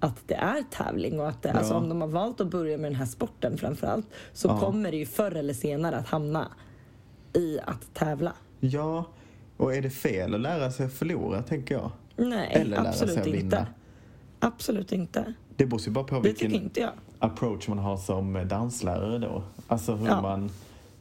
S1: att det är tävling och att det, alltså
S2: Ja.
S1: om de har valt att börja med den här sporten framförallt så
S2: Ja.
S1: kommer det ju förr eller senare att hamna i att tävla.
S2: ja, och är det fel att lära sig att förlora, tänker jag?
S1: Nej,
S2: Eller lära sig
S1: absolut
S2: att
S1: inte.
S2: vinna?
S1: Absolut inte.
S2: Det beror ju bara på
S1: Det tycker
S2: vilken
S1: inte jag.
S2: approach man har som eh, danslärare då. Alltså hur,
S1: Ja.
S2: man,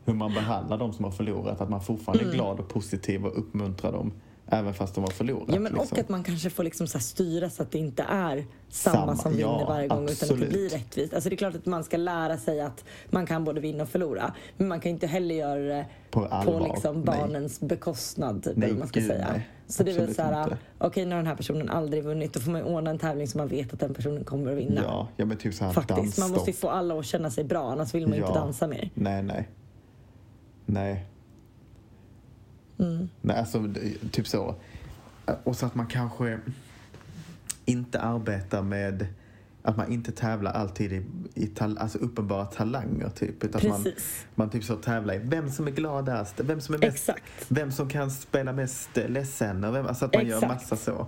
S2: hur man behandlar de som har förlorat. Att man fortfarande
S1: Mm.
S2: är glad och positiv och uppmuntrar dem även fast de har förlorat.
S1: Ja, men
S2: liksom.
S1: Och att man kanske får liksom så här styra så att det inte är samma,
S2: Samma,
S1: som vinner
S2: ja,
S1: varje gång utan
S2: absolut.
S1: att det blir rättvist. Alltså det är klart att man ska lära sig att man kan både vinna och förlora. Men man kan inte heller göra det
S2: På
S1: på
S2: allvar,
S1: liksom
S2: nej.
S1: bekostnad bekostnad. Typ,
S2: Nej,
S1: eller vad man ska
S2: gud,
S1: säga.
S2: nej.
S1: Så det är väl
S2: Absolut
S1: så här,
S2: inte.
S1: okej nu har den här personen aldrig vunnit. Då får man ju ordna en tävling som man vet att den personen kommer att vinna.
S2: Ja, ja men typ så här
S1: Faktiskt, man måste ju
S2: dansstopp.
S1: få alla att känna sig bra annars vill man ju inte
S2: Ja.
S1: dansa mer.
S2: Nej, nej. Nej.
S1: Mm.
S2: Nej, alltså d- typ så. Och så att man kanske inte arbetar med att man inte tävlar alltid i, i tal, alltså uppenbara talanger typ. Utan att man,
S1: Precis.
S2: man typ så tävlar i vem som är gladast, vem som är mest
S1: Exakt.
S2: Vem som kan spela mest eh, ledsen och vem, alltså att man gör
S1: Exakt.
S2: massa så.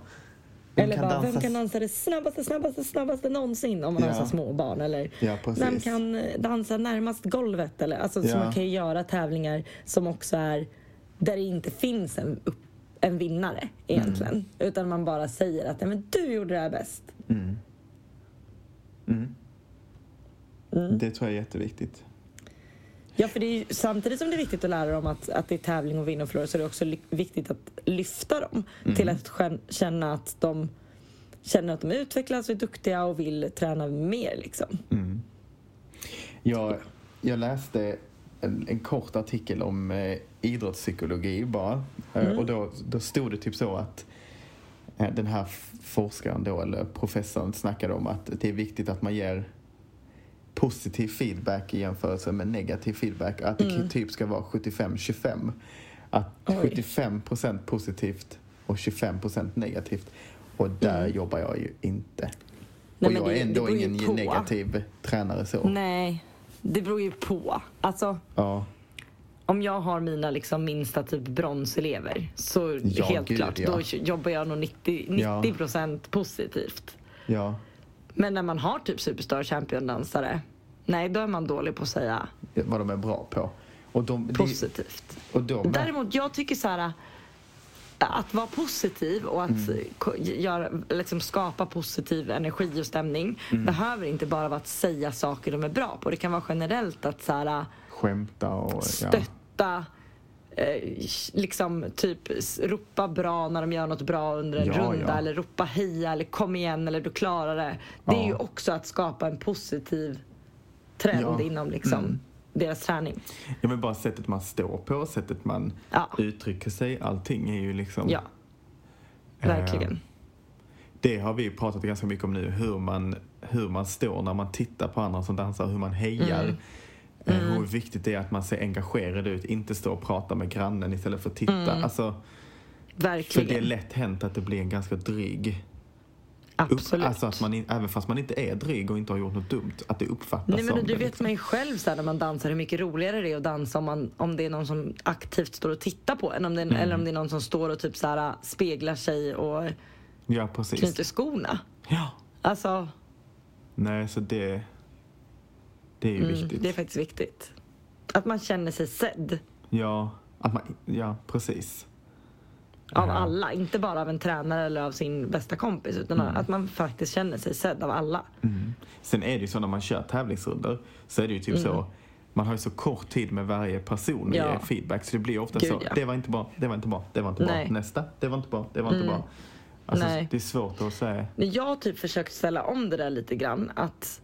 S2: Vem
S1: Eller
S2: kan
S1: bara, vem
S2: dansa-
S1: kan dansa det snabbaste, snabbaste, snabbaste någonsin om man har
S2: Ja.
S1: så små barn? Eller
S2: Ja, precis.
S1: vem kan eh, dansa närmast golvet? Eller, alltså, Så
S2: Ja.
S1: man kan ju göra tävlingar som också är där det inte finns en, upp- en vinnare egentligen.
S2: Mm.
S1: Utan man bara säger att "Nej, men du gjorde det här bäst. Mm.
S2: Det tror jag är jätteviktigt.
S1: Ja, för det är ju, samtidigt som det är viktigt att lära dem att, att det är tävling och vinna och förlora så är det också ly- viktigt att lyfta dem
S2: Mm.
S1: till att skän- känna att de känner att de utvecklas och är duktiga och vill träna mer. Liksom.
S2: Jag, jag läste en, en kort artikel om eh, idrottspsykologi bara. Eh,
S1: Mm.
S2: Och då, då stod det typ så att eh, den här f- forskaren då, eller professorn, snackade om att det är viktigt att man ger positiv feedback i jämförelse med negativ feedback. Att det typ ska vara 75-25. Att
S1: Mm. Oj.
S2: 75% positivt och 25% negativt. Och där jobbar jag ju inte.
S1: Mm. Nej, men
S2: och jag
S1: det-
S2: är ändå
S1: det beror ju
S2: ingen
S1: på. Mm.
S2: negativ tränare så.
S1: Nej, det beror ju på. Alltså,
S2: Ja.
S1: om jag har mina liksom minsta typ bronselever så
S2: Ja,
S1: helt
S2: gud,
S1: klart,
S2: ja.
S1: då jobbar jag nog 90, 90
S2: Ja.
S1: procent positivt.
S2: Ja.
S1: Men när man har typ Superstar Champion-dansare, nej då är man dålig på att säga
S2: vad de är bra på. Och de, det-
S1: positivt.
S2: och de,
S1: Däremot, jag tycker så här... att vara positiv och att
S2: Mm.
S1: ko- göra, liksom skapa positiv energi och stämning
S2: Mm.
S1: behöver inte bara vara att säga saker de är bra på. Det kan vara generellt att så här,
S2: Skämta och...
S1: stötta, eh, liksom typ s- ropa bra när de gör något bra under en
S2: Ja,
S1: runda
S2: ja.
S1: eller ropa heja eller kom igen eller du klarar det. Det
S2: Ja.
S1: är ju också att skapa en positiv trend
S2: Ja. Mm.
S1: inom liksom deras träning.
S2: Ja, men bara sättet man står på, sättet man
S1: Ja.
S2: uttrycker sig, allting är ju liksom...
S1: Ja, verkligen.
S2: Eh, det har vi pratat ganska mycket om nu, hur man, hur man står när man tittar på andra som dansar, hur man hejar.
S1: Mm.
S2: Eh, Hur viktigt det är att man ser engagerad ut, inte stå och prata med grannen istället för att titta.
S1: Mm.
S2: Alltså, för
S1: verkligen.
S2: det är lätt hänt att det blir en ganska dryg... Upp,
S1: Absolut.
S2: alltså att man, in- även fast man inte är dryg och inte har gjort något dumt, att det uppfattas
S1: Nej, men
S2: som
S1: du
S2: alltså, det,
S1: vet man ju själv så här, när man dansar hur mycket roligare det är att dansa om, man, om det är någon som aktivt står och tittar på en. Om det är, Eller
S2: Mm.
S1: om det är någon som står och typ så här, speglar sig och
S2: Ja, precis.
S1: knyter skorna.
S2: Ja.
S1: Alltså,
S2: Nej, så det... Det är ju viktigt.
S1: Mm, det är faktiskt viktigt. Att man känner sig sedd
S2: Ja, att man, ja precis.
S1: av
S2: Ja.
S1: alla. Inte bara av en tränare eller av sin bästa kompis. Utan
S2: Mm.
S1: att man faktiskt känner sig sedd av alla.
S2: Sen är det ju så när man kör tävlingsrundor så är det ju typ så man har ju så kort tid med varje person att
S1: Mm. Ja.
S2: ge feedback så det blir ofta
S1: Gud,
S2: så
S1: ja.
S2: det var inte bra, det var inte bra, det var inte
S1: Nej. Mm.
S2: bra, nästa, det var inte bra, det var inte bra. Alltså,
S1: Nej.
S2: Det är svårt att säga.
S1: Men jag har typ försökt ställa om det där lite grann. Att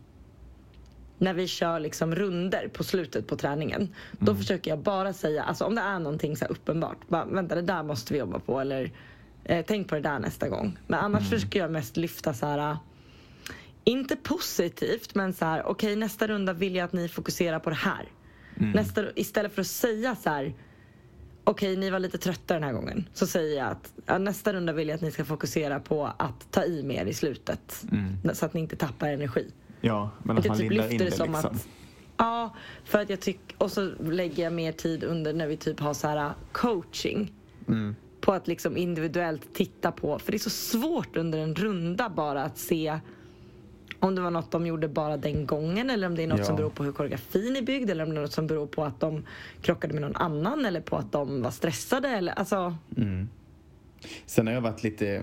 S1: när vi kör liksom runder på slutet på träningen. Då försöker jag bara säga, alltså om det är någonting så här uppenbart. Bara, vänta det där måste vi jobba på eller eh, tänk på det där nästa gång. Men annars försöker jag mest lyfta så här. Inte positivt men så här, okej nästa runda vill jag att ni fokuserar på det här. Nästa, istället för att säga så här okej ni var lite trötta den här gången. Så säger jag att ja, nästa runda vill jag att ni ska fokusera på att ta i mer i slutet. Så att ni inte tappar energi.
S2: Ja, men att
S1: Jag
S2: man
S1: typ
S2: lindar
S1: lyfter
S2: in
S1: det
S2: det
S1: som
S2: liksom.
S1: att Ja, för att jag tycker, och så lägger jag mer tid under när vi typ har så här coaching.
S2: Mm.
S1: På att liksom individuellt titta på, för det är så svårt under en runda bara att se om det var något de gjorde bara den gången eller om det är något
S2: Ja.
S1: som beror på hur koreografin är byggd eller om det är något som beror på att de krockade med någon annan eller på att de var stressade eller alltså.
S2: Sen har jag varit lite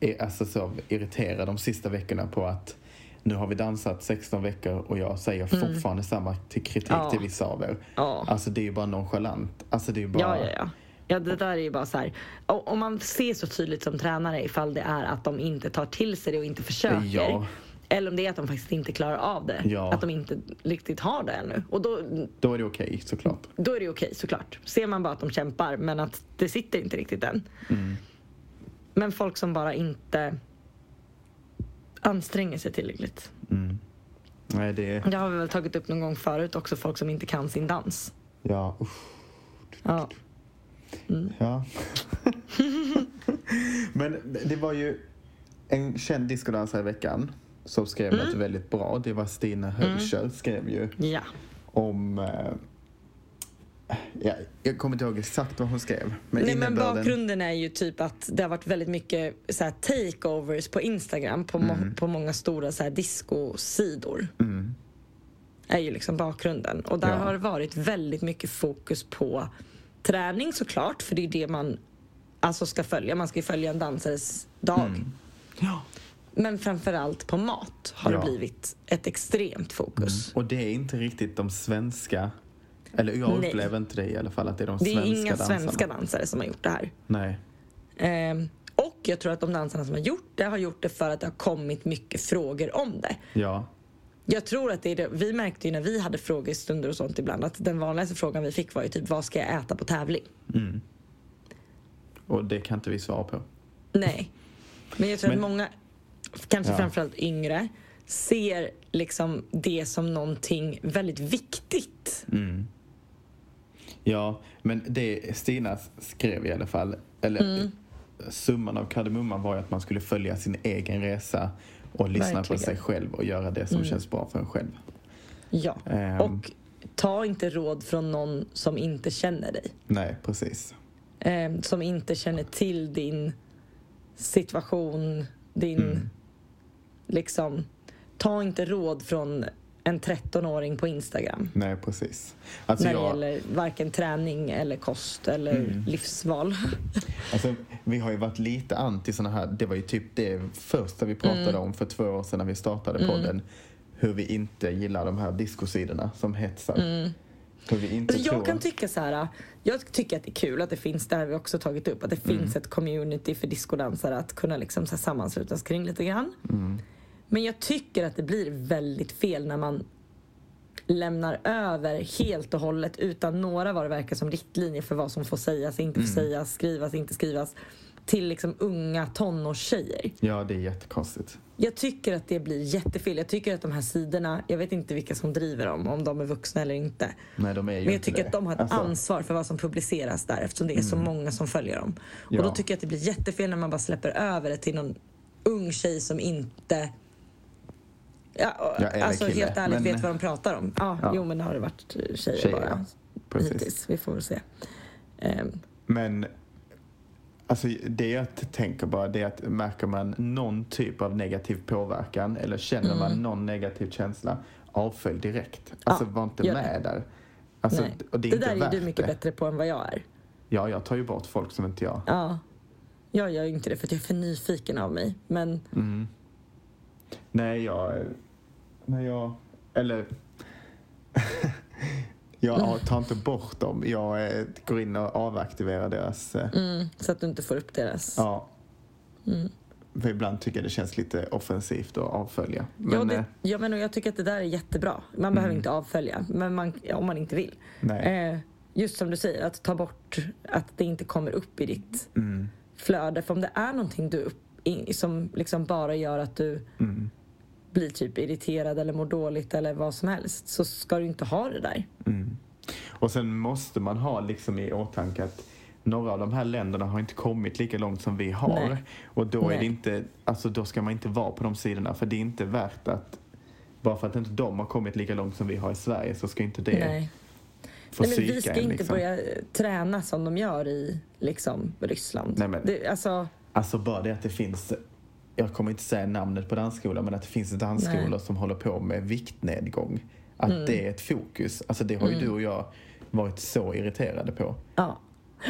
S2: eh, alltså, så irriterad de sista veckorna på att nu har vi dansat 16 veckor och jag säger fortfarande samma till kritik
S1: Mm. Ja.
S2: till vissa av er.
S1: Ja.
S2: Alltså det är ju bara nonchalant. Alltså det är ju bara...
S1: Ja, ja, ja. Ja, det där är ju bara så här. Och, och man ser så tydligt som tränare ifall det är att de inte tar till sig det och inte försöker.
S2: Ja.
S1: Eller om det är att de faktiskt inte klarar av det.
S2: Ja.
S1: Att de inte riktigt har det ännu. Och då,
S2: Då är det okej såklart.
S1: då är det okej såklart. Ser man bara att de kämpar men att det sitter inte riktigt än.
S2: Mm.
S1: Men folk som bara inte anstränger sig tillräckligt.
S2: Nej, det är...
S1: Det har vi väl tagit upp någon gång förut också, folk som inte kan sin dans.
S2: Ja, usch.
S1: Ja. Mm.
S2: Ja. Men det var ju en känd discodansare i veckan som skrev
S1: Mm.
S2: något väldigt bra. Det var Stina Hölscher skrev ju
S1: ja.
S2: om... Eh, ja, jag kommer inte ihåg exakt vad hon skrev. Men
S1: Nej, men
S2: innebörden...
S1: bakgrunden är ju typ att det har varit väldigt mycket så här, takeovers på Instagram på, må-
S2: Mm.
S1: på många stora så här, discosidor. är ju liksom bakgrunden. Och där
S2: Ja.
S1: har det varit väldigt mycket fokus på träning såklart, för det är ju det man alltså, ska följa. Man ska ju följa en dansares dag.
S2: Mm. Ja.
S1: Men framförallt på mat har
S2: Ja. Mm.
S1: det blivit ett extremt fokus.
S2: Och det är inte riktigt de svenska... Eller jag
S1: Nej.
S2: upplever inte det i alla fall, att det är de
S1: Det är
S2: svenska
S1: inga
S2: dansarna.
S1: svenska dansare som har gjort det här.
S2: Nej.
S1: Ehm, och jag tror att de dansarna som har gjort det har gjort det för att det har kommit mycket frågor om det.
S2: Ja.
S1: Jag tror att det är det. Vi märkte ju när vi hade frågestunder och sånt ibland att den vanligaste frågan vi fick var ju typ vad ska jag äta på tävling?
S2: Och det kan inte vi svara på.
S1: Nej. Men jag tror
S2: Men-
S1: att många, kanske
S2: Ja.
S1: framförallt yngre, ser liksom det som någonting väldigt viktigt.
S2: Mm. Ja, men det Stina skrev i alla fall, eller
S1: Mm.
S2: summan av kardemumman var ju att man skulle följa sin egen resa och lyssna
S1: Verkligen. Mm.
S2: på sig själv och göra det som känns bra för en själv.
S1: Ja.
S2: Ehm.
S1: Och ta inte råd från någon som inte känner dig.
S2: Nej, precis.
S1: eh, som inte känner till din
S2: Mm.
S1: situation, din... Liksom, ta inte råd från en 13-åring på Instagram.
S2: Nej, precis. Alltså,
S1: när det
S2: jag, Mm.
S1: gäller varken träning eller kost eller livsval.
S2: alltså, vi har ju varit lite anti såna här, det var ju typ det första vi pratade
S1: Mm.
S2: om för två år sedan när vi startade podden. Hur vi inte gillar de här diskosidorna som hetsar. Hur vi inte
S1: Mm. Alltså
S2: tror...
S1: jag kan tycka så här, jag tycker att det är kul att det finns, det här har vi också tagit upp, att det
S2: Mm.
S1: finns ett community för diskodansare att kunna liksom så här sammanslutas kring lite grann.
S2: Mm.
S1: Men jag tycker att det blir väldigt fel när man lämnar över helt och hållet utan några vad det verkar som riktlinjer för vad som får sägas, inte
S2: Mm.
S1: får sägas, skrivas, inte skrivas till liksom unga tonårstjejer.
S2: Ja, det är jättekonstigt.
S1: Jag tycker att det blir jättefel. Jag tycker att de här sidorna, jag vet inte vilka som driver dem, om de är vuxna eller inte.
S2: Nej, de är ju
S1: Men jag
S2: inte
S1: tycker
S2: det.
S1: att de har ett
S2: Alltså, Mm.
S1: ansvar för vad som publiceras där eftersom det är så många som följer dem.
S2: Ja.
S1: Och då tycker jag att det blir jättefel när man bara släpper över det till någon ung tjej som inte ja, och-
S2: Ja, eller
S1: alltså
S2: kille,
S1: helt ärligt
S2: men-
S1: vet vad de pratar om. Ja,
S2: Ja.
S1: Jo men det har det varit tjejer,
S2: Tjejer,
S1: bara
S2: Precis.
S1: hittills. Vi får väl se. Ehm,
S2: Men alltså, det jag t- tänker bara det är att märker man någon typ av negativ påverkan eller känner
S1: Mm.
S2: man någon negativ känsla, avfölj direkt. Alltså var inte
S1: gör
S2: med där. Alltså,
S1: nej.
S2: och det är
S1: det
S2: inte
S1: där är
S2: värt
S1: ju du mycket
S2: det.
S1: bättre på än vad jag är.
S2: Ja, jag tar ju bort folk som inte jag...
S1: Ja. Jag gör ju inte det för att jag är för nyfiken av mig. Men
S2: Mm. Nej, jag... Nej, jag... Eller... jag ja, tar inte bort dem. Jag eh, går in och avaktiverar deras... eh,
S1: Mm, så att du inte får upp deras... Ja,
S2: Ja.
S1: Mm.
S2: För ibland tycker jag det känns lite offensivt att avfölja.
S1: men,
S2: eh, Mm.
S1: det, ja, men och jag tycker att det där är jättebra. Man behöver inte avfölja, men man, ja, om man inte vill.
S2: Nej.
S1: Eh, just som du säger, att ta bort att det inte kommer upp i ditt
S2: Mm.
S1: flöde. För om det är någonting du upp, i, som liksom bara gör att du
S2: Mm.
S1: blir typ irriterad eller mår dåligt eller vad som helst så ska du inte ha det där.
S2: Och sen måste man ha liksom i åtanke att några av de här länderna har inte kommit lika långt som vi har.
S1: Nej.
S2: Och då, är det
S1: Nej.
S2: inte, alltså då ska man inte vara på de sidorna för det är inte värt att bara för att inte de har kommit lika långt som vi har i Sverige så ska inte det
S1: Nej.
S2: få
S1: Nej, men
S2: psyka
S1: vi ska
S2: en.
S1: inte
S2: Liksom.
S1: börja träna som de gör i liksom, Ryssland.
S2: Nej, men-
S1: det, alltså,
S2: Alltså bara det att det finns, jag kommer inte säga namnet på dansskolan, men att det finns dansskolor
S1: Nej. Mm.
S2: som håller på med viktnedgång. Att det är ett fokus. Alltså det har ju du och jag varit så irriterade på.
S1: ja.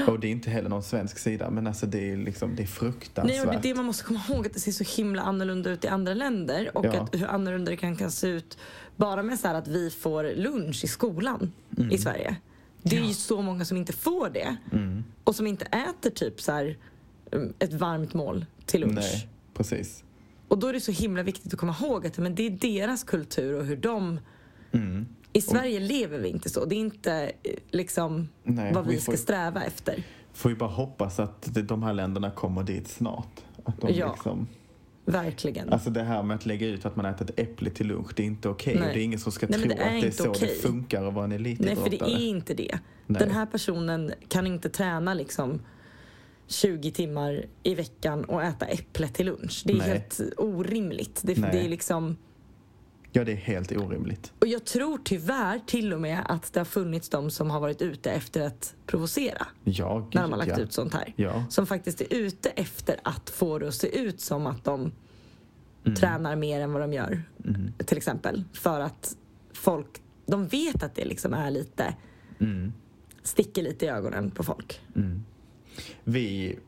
S2: Och det är inte heller någon svensk sida, men alltså det är, liksom, det är fruktansvärt.
S1: Nej, och det är det man måste komma ihåg, att det ser så himla annorlunda ut i andra länder och
S2: Ja.
S1: att hur annorlunda det kan, kan se ut bara med så här att vi får lunch i skolan
S2: Mm.
S1: i Sverige. Det är ju så många som inte får det
S2: Mm.
S1: och som inte äter typ så här um, ett varmt mål till lunch.
S2: Nej, precis.
S1: Och då är det så himla viktigt att komma ihåg att men det är deras kultur och hur de...
S2: Mm.
S1: I Sverige lever vi inte så. Det är inte eh, liksom
S2: Nej,
S1: vad vi,
S2: vi
S1: ska
S2: får-
S1: sträva efter.
S2: Får ju bara hoppas att det- de här länderna kommer dit snart. Att de
S1: Ja.
S2: liksom,
S1: Verkligen.
S2: alltså det här med att lägga ut att man äter ett äpple till lunch, det är inte okej.
S1: Nej.
S2: Och Det är ingen som ska
S1: Nej,
S2: tro
S1: men det är
S2: att det är
S1: inte
S2: så det
S1: okej.
S2: funkar att vara en
S1: Nej, för
S2: elitidrottare.
S1: det är inte det.
S2: Nej.
S1: Den här personen kan inte träna liksom 20 timmar i veckan och äta äpple till lunch. Det är
S2: Nej.
S1: helt orimligt. Det,
S2: Nej.
S1: det är liksom,
S2: Ja, det är helt orimligt.
S1: och jag tror tyvärr till och med att det har funnits de som har varit ute efter att provocera
S2: Ja, gud,
S1: när de har lagt
S2: ja.
S1: ut sånt här.
S2: Ja.
S1: Som faktiskt är ute efter att få det att se ut som att de
S2: Mm.
S1: tränar mer än vad de gör. Till exempel. För att folk, de vet att det liksom är lite,
S2: Mm,
S1: sticker lite i ögonen på folk.
S2: Vi...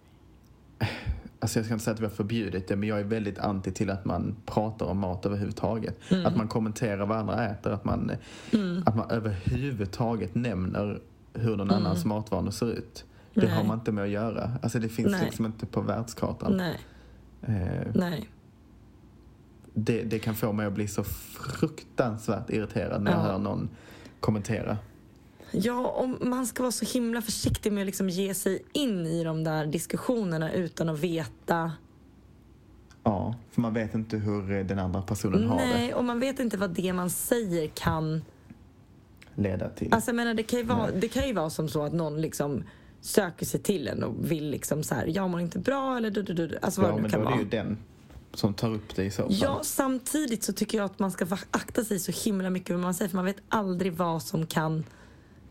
S2: Alltså jag ska inte säga att vi har förbjudit det, men jag är väldigt anti till att man pratar om mat överhuvudtaget.
S1: Mm.
S2: Att man kommenterar vad andra äter, att man, att man överhuvudtaget nämner hur någon annans matvanor ser ut. Det
S1: Mm. Nej.
S2: har man inte med att göra. Alltså det finns
S1: Nej.
S2: liksom inte på världskartan.
S1: Nej,
S2: Eh,
S1: nej.
S2: det, det kan få mig att bli så fruktansvärt irriterad när jag
S1: Ja.
S2: hör någon kommentera.
S1: Ja, om man ska vara så himla försiktig med att liksom ge sig in i de där diskussionerna utan att veta.
S2: Ja, för man vet inte hur eh, den andra personen har det.
S1: Nej, och man vet inte vad det man säger kan
S2: Leda till.
S1: Alltså jag menar, det kan ju vara, det kan ju vara som så att någon liksom söker sig till en och vill liksom så här, jag mår inte bra eller du, du, du, du. Alltså vad
S2: ja,
S1: det nu
S2: men då
S1: kan
S2: är det
S1: vara.
S2: ju den som tar upp det i så fall.
S1: Ja, samtidigt så tycker jag att man ska vak- akta sig så himla mycket vad man säger för man vet aldrig vad som kan,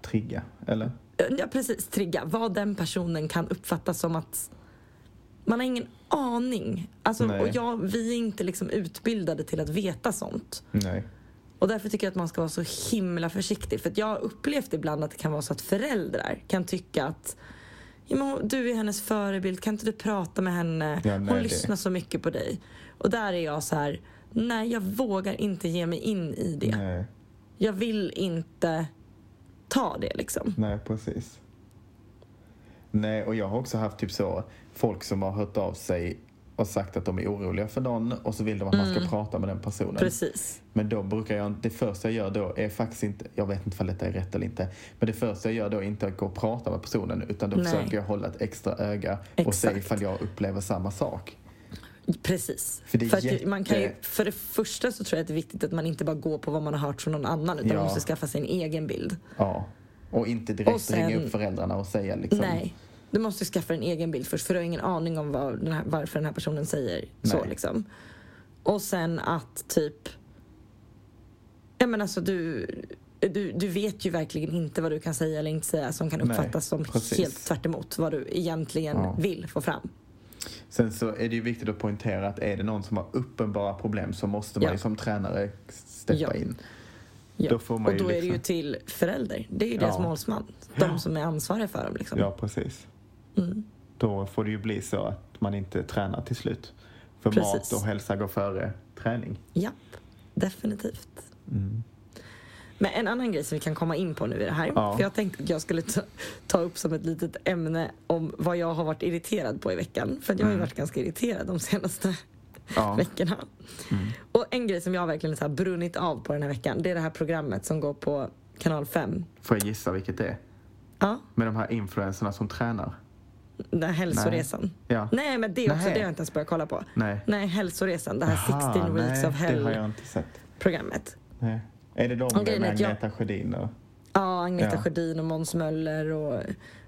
S2: Trigga, eller?
S1: ja precis, trigga. Vad den personen kan uppfatta som att man har ingen aning. Alltså,
S2: Nej.
S1: och jag, vi är inte liksom utbildade till att veta sånt.
S2: Nej.
S1: Och därför tycker jag att man ska vara så himla försiktig. För att jag har upplevt ibland att det kan vara så att föräldrar kan tycka att ja, men du är hennes förebild, kan inte du prata med henne?
S2: Ja,
S1: Hon
S2: nej, det-
S1: lyssnar så mycket på dig. Och där är jag så här, nej jag vågar inte ge mig in i det.
S2: Nej,
S1: Jag vill inte ta det liksom.
S2: nej, precis. Nej, och jag har också haft typ så folk som har hört av sig och sagt att de är oroliga för någon och så vill de att man ska prata med den personen.
S1: Mm. Precis.
S2: Men då brukar jag, det första jag gör då är faktiskt inte, jag vet inte om detta är rätt eller inte, men det första jag gör då är inte att gå och prata med personen utan då
S1: Nej.
S2: försöker jag hålla ett extra öga och se
S1: Exakt.
S2: ifall jag upplever samma sak.
S1: Precis.
S2: För det är
S1: för, att
S2: jätte-
S1: ju- man kan ju, för det första så tror jag att det är viktigt att man inte bara går på vad man har hört från någon annan utan
S2: Ja.
S1: man måste skaffa sig en egen bild.
S2: Ja. Och inte direkt
S1: Och sen-
S2: ringa upp föräldrarna och säga liksom.
S1: Nej. Du måste skaffa en egen bild först för du har ingen aning om vad den här, varför den här personen säger så.
S2: Nej.
S1: Liksom. Och sen att typ... Ja men alltså du, du, du vet ju verkligen inte vad du kan säga eller inte säga som kan
S2: Nej,
S1: uppfattas som
S2: precis.
S1: helt tvärt emot vad du egentligen
S2: Ja.
S1: vill få fram.
S2: Sen så är det ju viktigt att poängtera att är det någon som har uppenbara problem så måste man
S1: Ja.
S2: ju som tränare steppa
S1: Ja.
S2: in.
S1: Ja.
S2: Då får man
S1: och
S2: ju
S1: då är det ju
S2: liksom-
S1: till förälder. Det är ju deras
S2: Ja.
S1: målsman. De som är ansvariga för dem. Liksom.
S2: Ja, precis.
S1: Mm.
S2: Då får det ju bli så att man inte tränar till slut. För
S1: Precis.
S2: mat och hälsa går före träning.
S1: Japp, definitivt.
S2: Mm.
S1: Men en annan grej som vi kan komma in på nu i det här.
S2: Ja.
S1: För jag tänkte att jag skulle ta, ta upp som ett litet ämne om vad jag har varit irriterad på i veckan. För att jag har ju varit ganska irriterad de senaste
S2: Mm. Ja. Mm.
S1: veckorna. Och en grej som jag verkligen så här brunnit av på den här veckan, det är det här programmet som går på kanal 5.
S2: Får jag gissa vilket det är?
S1: Ja,
S2: Med de här influenserna som tränar?
S1: den här hälsoresan. Nej.
S2: Ja.
S1: men det är också,
S2: Nej.
S1: det har jag inte ens börjat kolla på.
S2: Nej.
S1: Nej, hälsoresan, det här 16
S2: Aha,
S1: weeks
S2: nej,
S1: of
S2: Det har jag
S1: hell
S2: inte sett.
S1: programmet.
S2: Nej. Är det de
S1: Och grejen
S2: med
S1: är att jag-
S2: Agneta Sjödin? Och...
S1: Ja, Agneta
S2: Ja.
S1: Sjödin och Måns Möller. Och,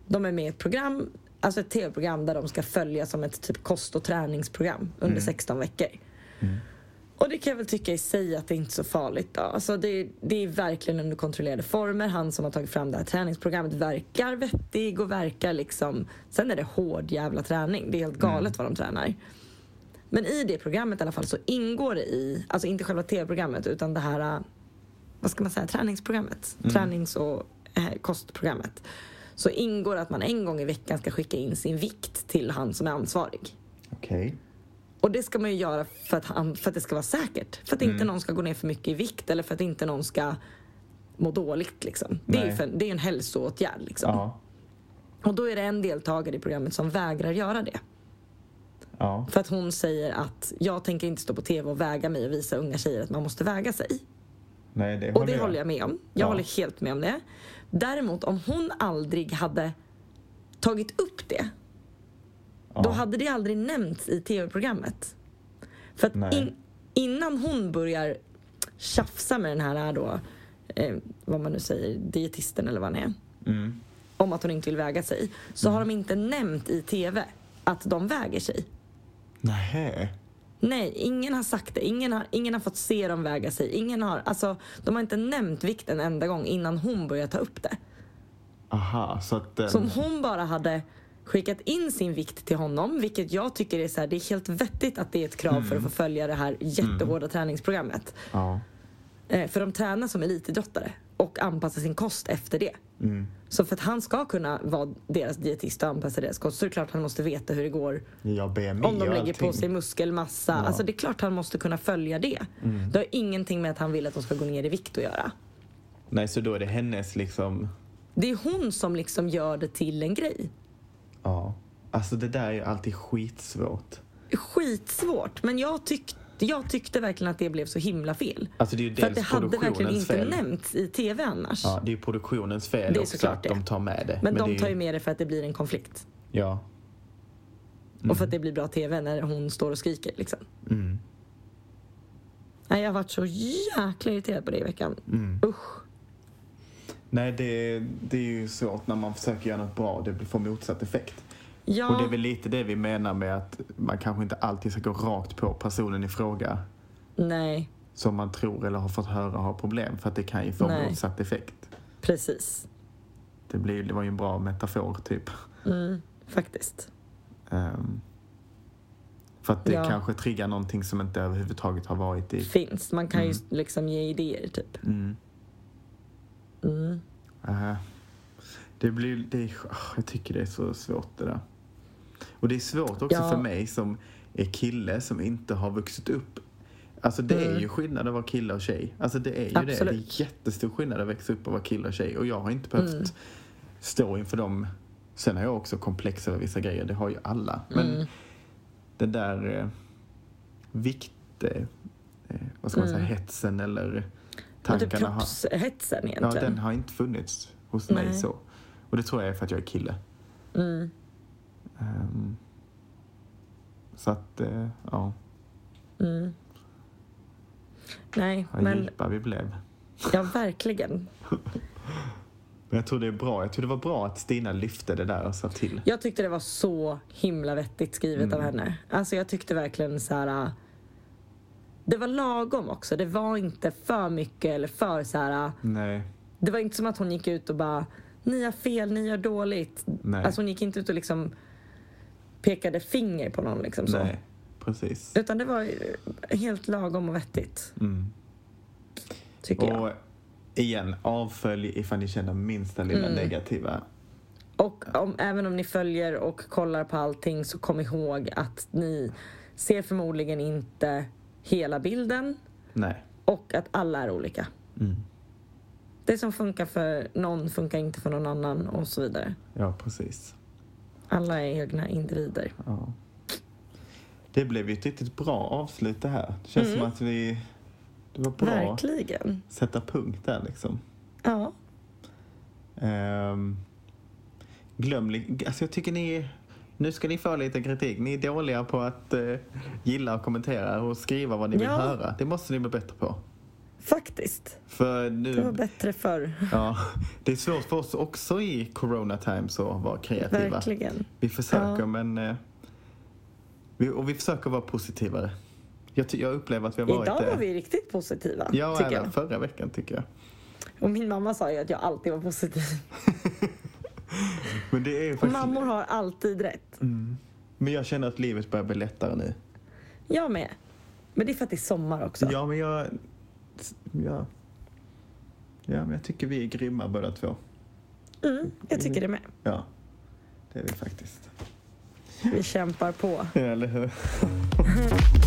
S1: de är med i ett program, alltså ett tv-program där de ska följa som ett typ kost och träningsprogram under 16 veckor. Och det kan jag väl tycka i sig att det är inte är så farligt. Då. Alltså det, det är verkligen under kontrollerade former. Han som har tagit fram det här träningsprogrammet verkar vettig och verkar liksom... Sen är det hård jävla träning. Det är helt galet vad de tränar. Men i det programmet i alla fall så ingår det i, alltså inte själva tv-programmet utan det här, eh, vad ska man säga, träningsprogrammet. Tränings och eh, kostprogrammet. Så ingår att man en gång i veckan ska skicka in sin vikt till han som är ansvarig.
S2: Okej.
S1: Och det ska man ju göra för att, han, för att det ska vara säkert. För att
S2: Mm.
S1: inte någon ska gå ner för mycket i vikt eller för att inte någon ska må dåligt. Liksom. Det, är ju
S2: Nej.
S1: för, det är en hälsoåtgärd. Liksom.
S2: Ja.
S1: Och då är det en deltagare i programmet som vägrar göra det.
S2: Ja.
S1: För att hon säger att jag tänker inte stå på tv och väga mig och visa unga tjejer att man måste väga sig.
S2: Nej, det
S1: Och det håller jag med om. Jag
S2: Ja.
S1: håller helt med om det. Däremot om hon aldrig hade tagit upp det,
S2: Ja.
S1: då hade det aldrig nämnts i tv-programmet. För att
S2: Nej.
S1: in, innan hon börjar tjafsa med den här då, eh, vad man nu säger, dietisten eller vad han är,
S2: Mm.
S1: om att hon inte vill väga sig, så har de inte nämnt i tv att de väger sig.
S2: Nej.
S1: Nej, ingen har sagt det. Ingen har, ingen har fått se dem väga sig. Ingen har, alltså, de har inte nämnt vikt en enda gång innan hon började ta upp det.
S2: Aha, så att den...
S1: Så om hon bara hade skickat in sin vikt till honom, vilket jag tycker är så här, det är helt vettigt att det är ett krav för att
S2: Mm.
S1: få följa det här jättehårda träningsprogrammet.
S2: Ja.
S1: Eh, för de tränar som elitidrottare och anpassar sin kost efter det.
S2: Mm.
S1: Så för att han ska kunna vara deras dietist och anpassa deras kost så är det klart han måste veta hur det går
S2: Ja, BMI
S1: Om de
S2: och
S1: lägger
S2: E allting.
S1: på sig muskelmassa. Alltså det är klart han måste kunna följa det.
S2: Mm.
S1: Det har ingenting med att han vill att de ska gå ner i vikt att göra.
S2: Nej, så då är det hennes liksom...
S1: Det är hon som liksom gör det till en grej.
S2: Ja. Alltså det där är ju alltid skitsvårt.
S1: Skitsvårt, men jag tyckte, jag tyckte verkligen att det blev så himla fel.
S2: Alltså det är ju
S1: För att
S2: dels
S1: det hade verkligen
S2: produktionens
S1: inte
S2: fel.
S1: nämnts i tv annars.
S2: Ja, det är ju produktionens fel
S1: Det är
S2: också
S1: såklart
S2: att
S1: det.
S2: de tar med det.
S1: Men,
S2: det
S1: de
S2: är
S1: tar ju med det för att det blir en konflikt.
S2: Ja.
S1: Och för att det blir bra tv när hon står och skriker. Liksom.
S2: Mm.
S1: Nej, jag har varit så jäkla irriterad på det i veckan.
S2: Mm.
S1: Usch.
S2: Nej, det, det är ju svårt när man försöker göra något bra och det får motsatt effekt.
S1: Ja.
S2: Och det är väl lite det vi menar med att man kanske inte alltid ska gå rakt på personen i fråga
S1: Nej,
S2: som man tror eller har fått höra har problem för att det kan ju få
S1: Nej.
S2: motsatt effekt.
S1: precis.
S2: Det, blir, det var ju en bra metafor typ.
S1: Mm, faktiskt.
S2: Ehm, För att det
S1: Ja.
S2: kanske triggar någonting som inte överhuvudtaget har varit i...
S1: finns. Man kan ju liksom ge idéer typ.
S2: Mm.
S1: Mm.
S2: Aha. Det blir, det är, åh, jag tycker det är så svårt det där. Och det är svårt också
S1: Ja.
S2: för mig som är kille som inte har vuxit upp. Alltså det är ju skillnad att vara kille och tjej. Alltså det är ju det. Det
S1: Mm. Absolut. Mm.
S2: är jättestor skillnad att växa upp och vara kille och tjej. Och jag har inte behövt stå inför dem. Sen har jag också komplex över vissa grejer. Det har ju alla. Men
S1: Mm.
S2: den där eh, vikt... Eh, eh, vad ska man säga? Hetsen eller
S1: Men Mm. typ
S2: tankarna. har-
S1: kroppshetsen
S2: Ja,
S1: egentligen.
S2: den har inte funnits hos mig
S1: Nej.
S2: så. Och det tror jag är för att jag är kille.
S1: Mm.
S2: Ehm, så att, eh, ja,
S1: Mm. Nej,
S2: vad
S1: men
S2: djupa vi blev.
S1: ja, verkligen.
S2: Men jag tror det är bra. Jag tror det var bra att Stina lyfte det där och sa till.
S1: Jag tyckte det var så himla vettigt skrivet
S2: Mm.
S1: av henne. Alltså jag tyckte verkligen så här. äh, Det var lagom också. Det var inte för mycket eller för så här. äh,
S2: Nej,
S1: Det var inte som att hon gick ut och bara ni har fel, ni gör dåligt.
S2: Nej.
S1: Alltså hon gick inte ut och liksom pekade finger på någon liksom så.
S2: nej, precis.
S1: Utan det var ju helt lagom och vettigt.
S2: Mm.
S1: Tycker jag.
S2: Och igen, avfölj ifall ni känner minsta
S1: Mm.
S2: lilla negativa.
S1: Och om, även om ni följer och kollar på allting så kom ihåg att ni ser förmodligen inte hela bilden
S2: Nej.
S1: och att alla är olika.
S2: Mm.
S1: Det som funkar för någon funkar inte för någon annan och så vidare.
S2: Ja, precis.
S1: Alla är egna individer.
S2: Ja. Det blev ju ett riktigt bra avslut det här. Det känns som att vi... Det var bra
S1: Mm. Verkligen.
S2: att sätta punkt där liksom.
S1: Ja.
S2: Ehm, glöm, li- alltså jag tycker ni, nu ska ni få lite kritik. Ni är dåliga på att eh, gilla och kommentera och skriva vad ni vill
S1: Ja.
S2: höra. Det måste ni bli bättre på.
S1: Faktiskt.
S2: För
S1: Det
S2: nu,
S1: var bättre förr.
S2: ja, det är svårt för oss också i corona times att vara kreativa.
S1: Verkligen.
S2: Vi försöker
S1: Ja.
S2: men, eh, vi, och vi försöker vara positivare. Jag, ty- jag upplever att vi har varit
S1: Idag
S2: det.
S1: var vi riktigt positiva.
S2: Ja,
S1: tycker
S2: även
S1: jag.
S2: förra veckan tycker jag.
S1: Och min mamma sa ju att jag alltid var positiv.
S2: Men det är
S1: Och
S2: faktiskt... Mm.
S1: mammor har alltid rätt.
S2: Men jag känner att livet börjar bli lättare nu.
S1: Jag med. Men det är för att det är sommar också.
S2: Ja, men jag... Ja. ja, men jag tycker vi är grymma båda två.
S1: Mm, jag tycker det med.
S2: Ja, det är vi faktiskt.
S1: Vi kämpar på.
S2: Eller hur?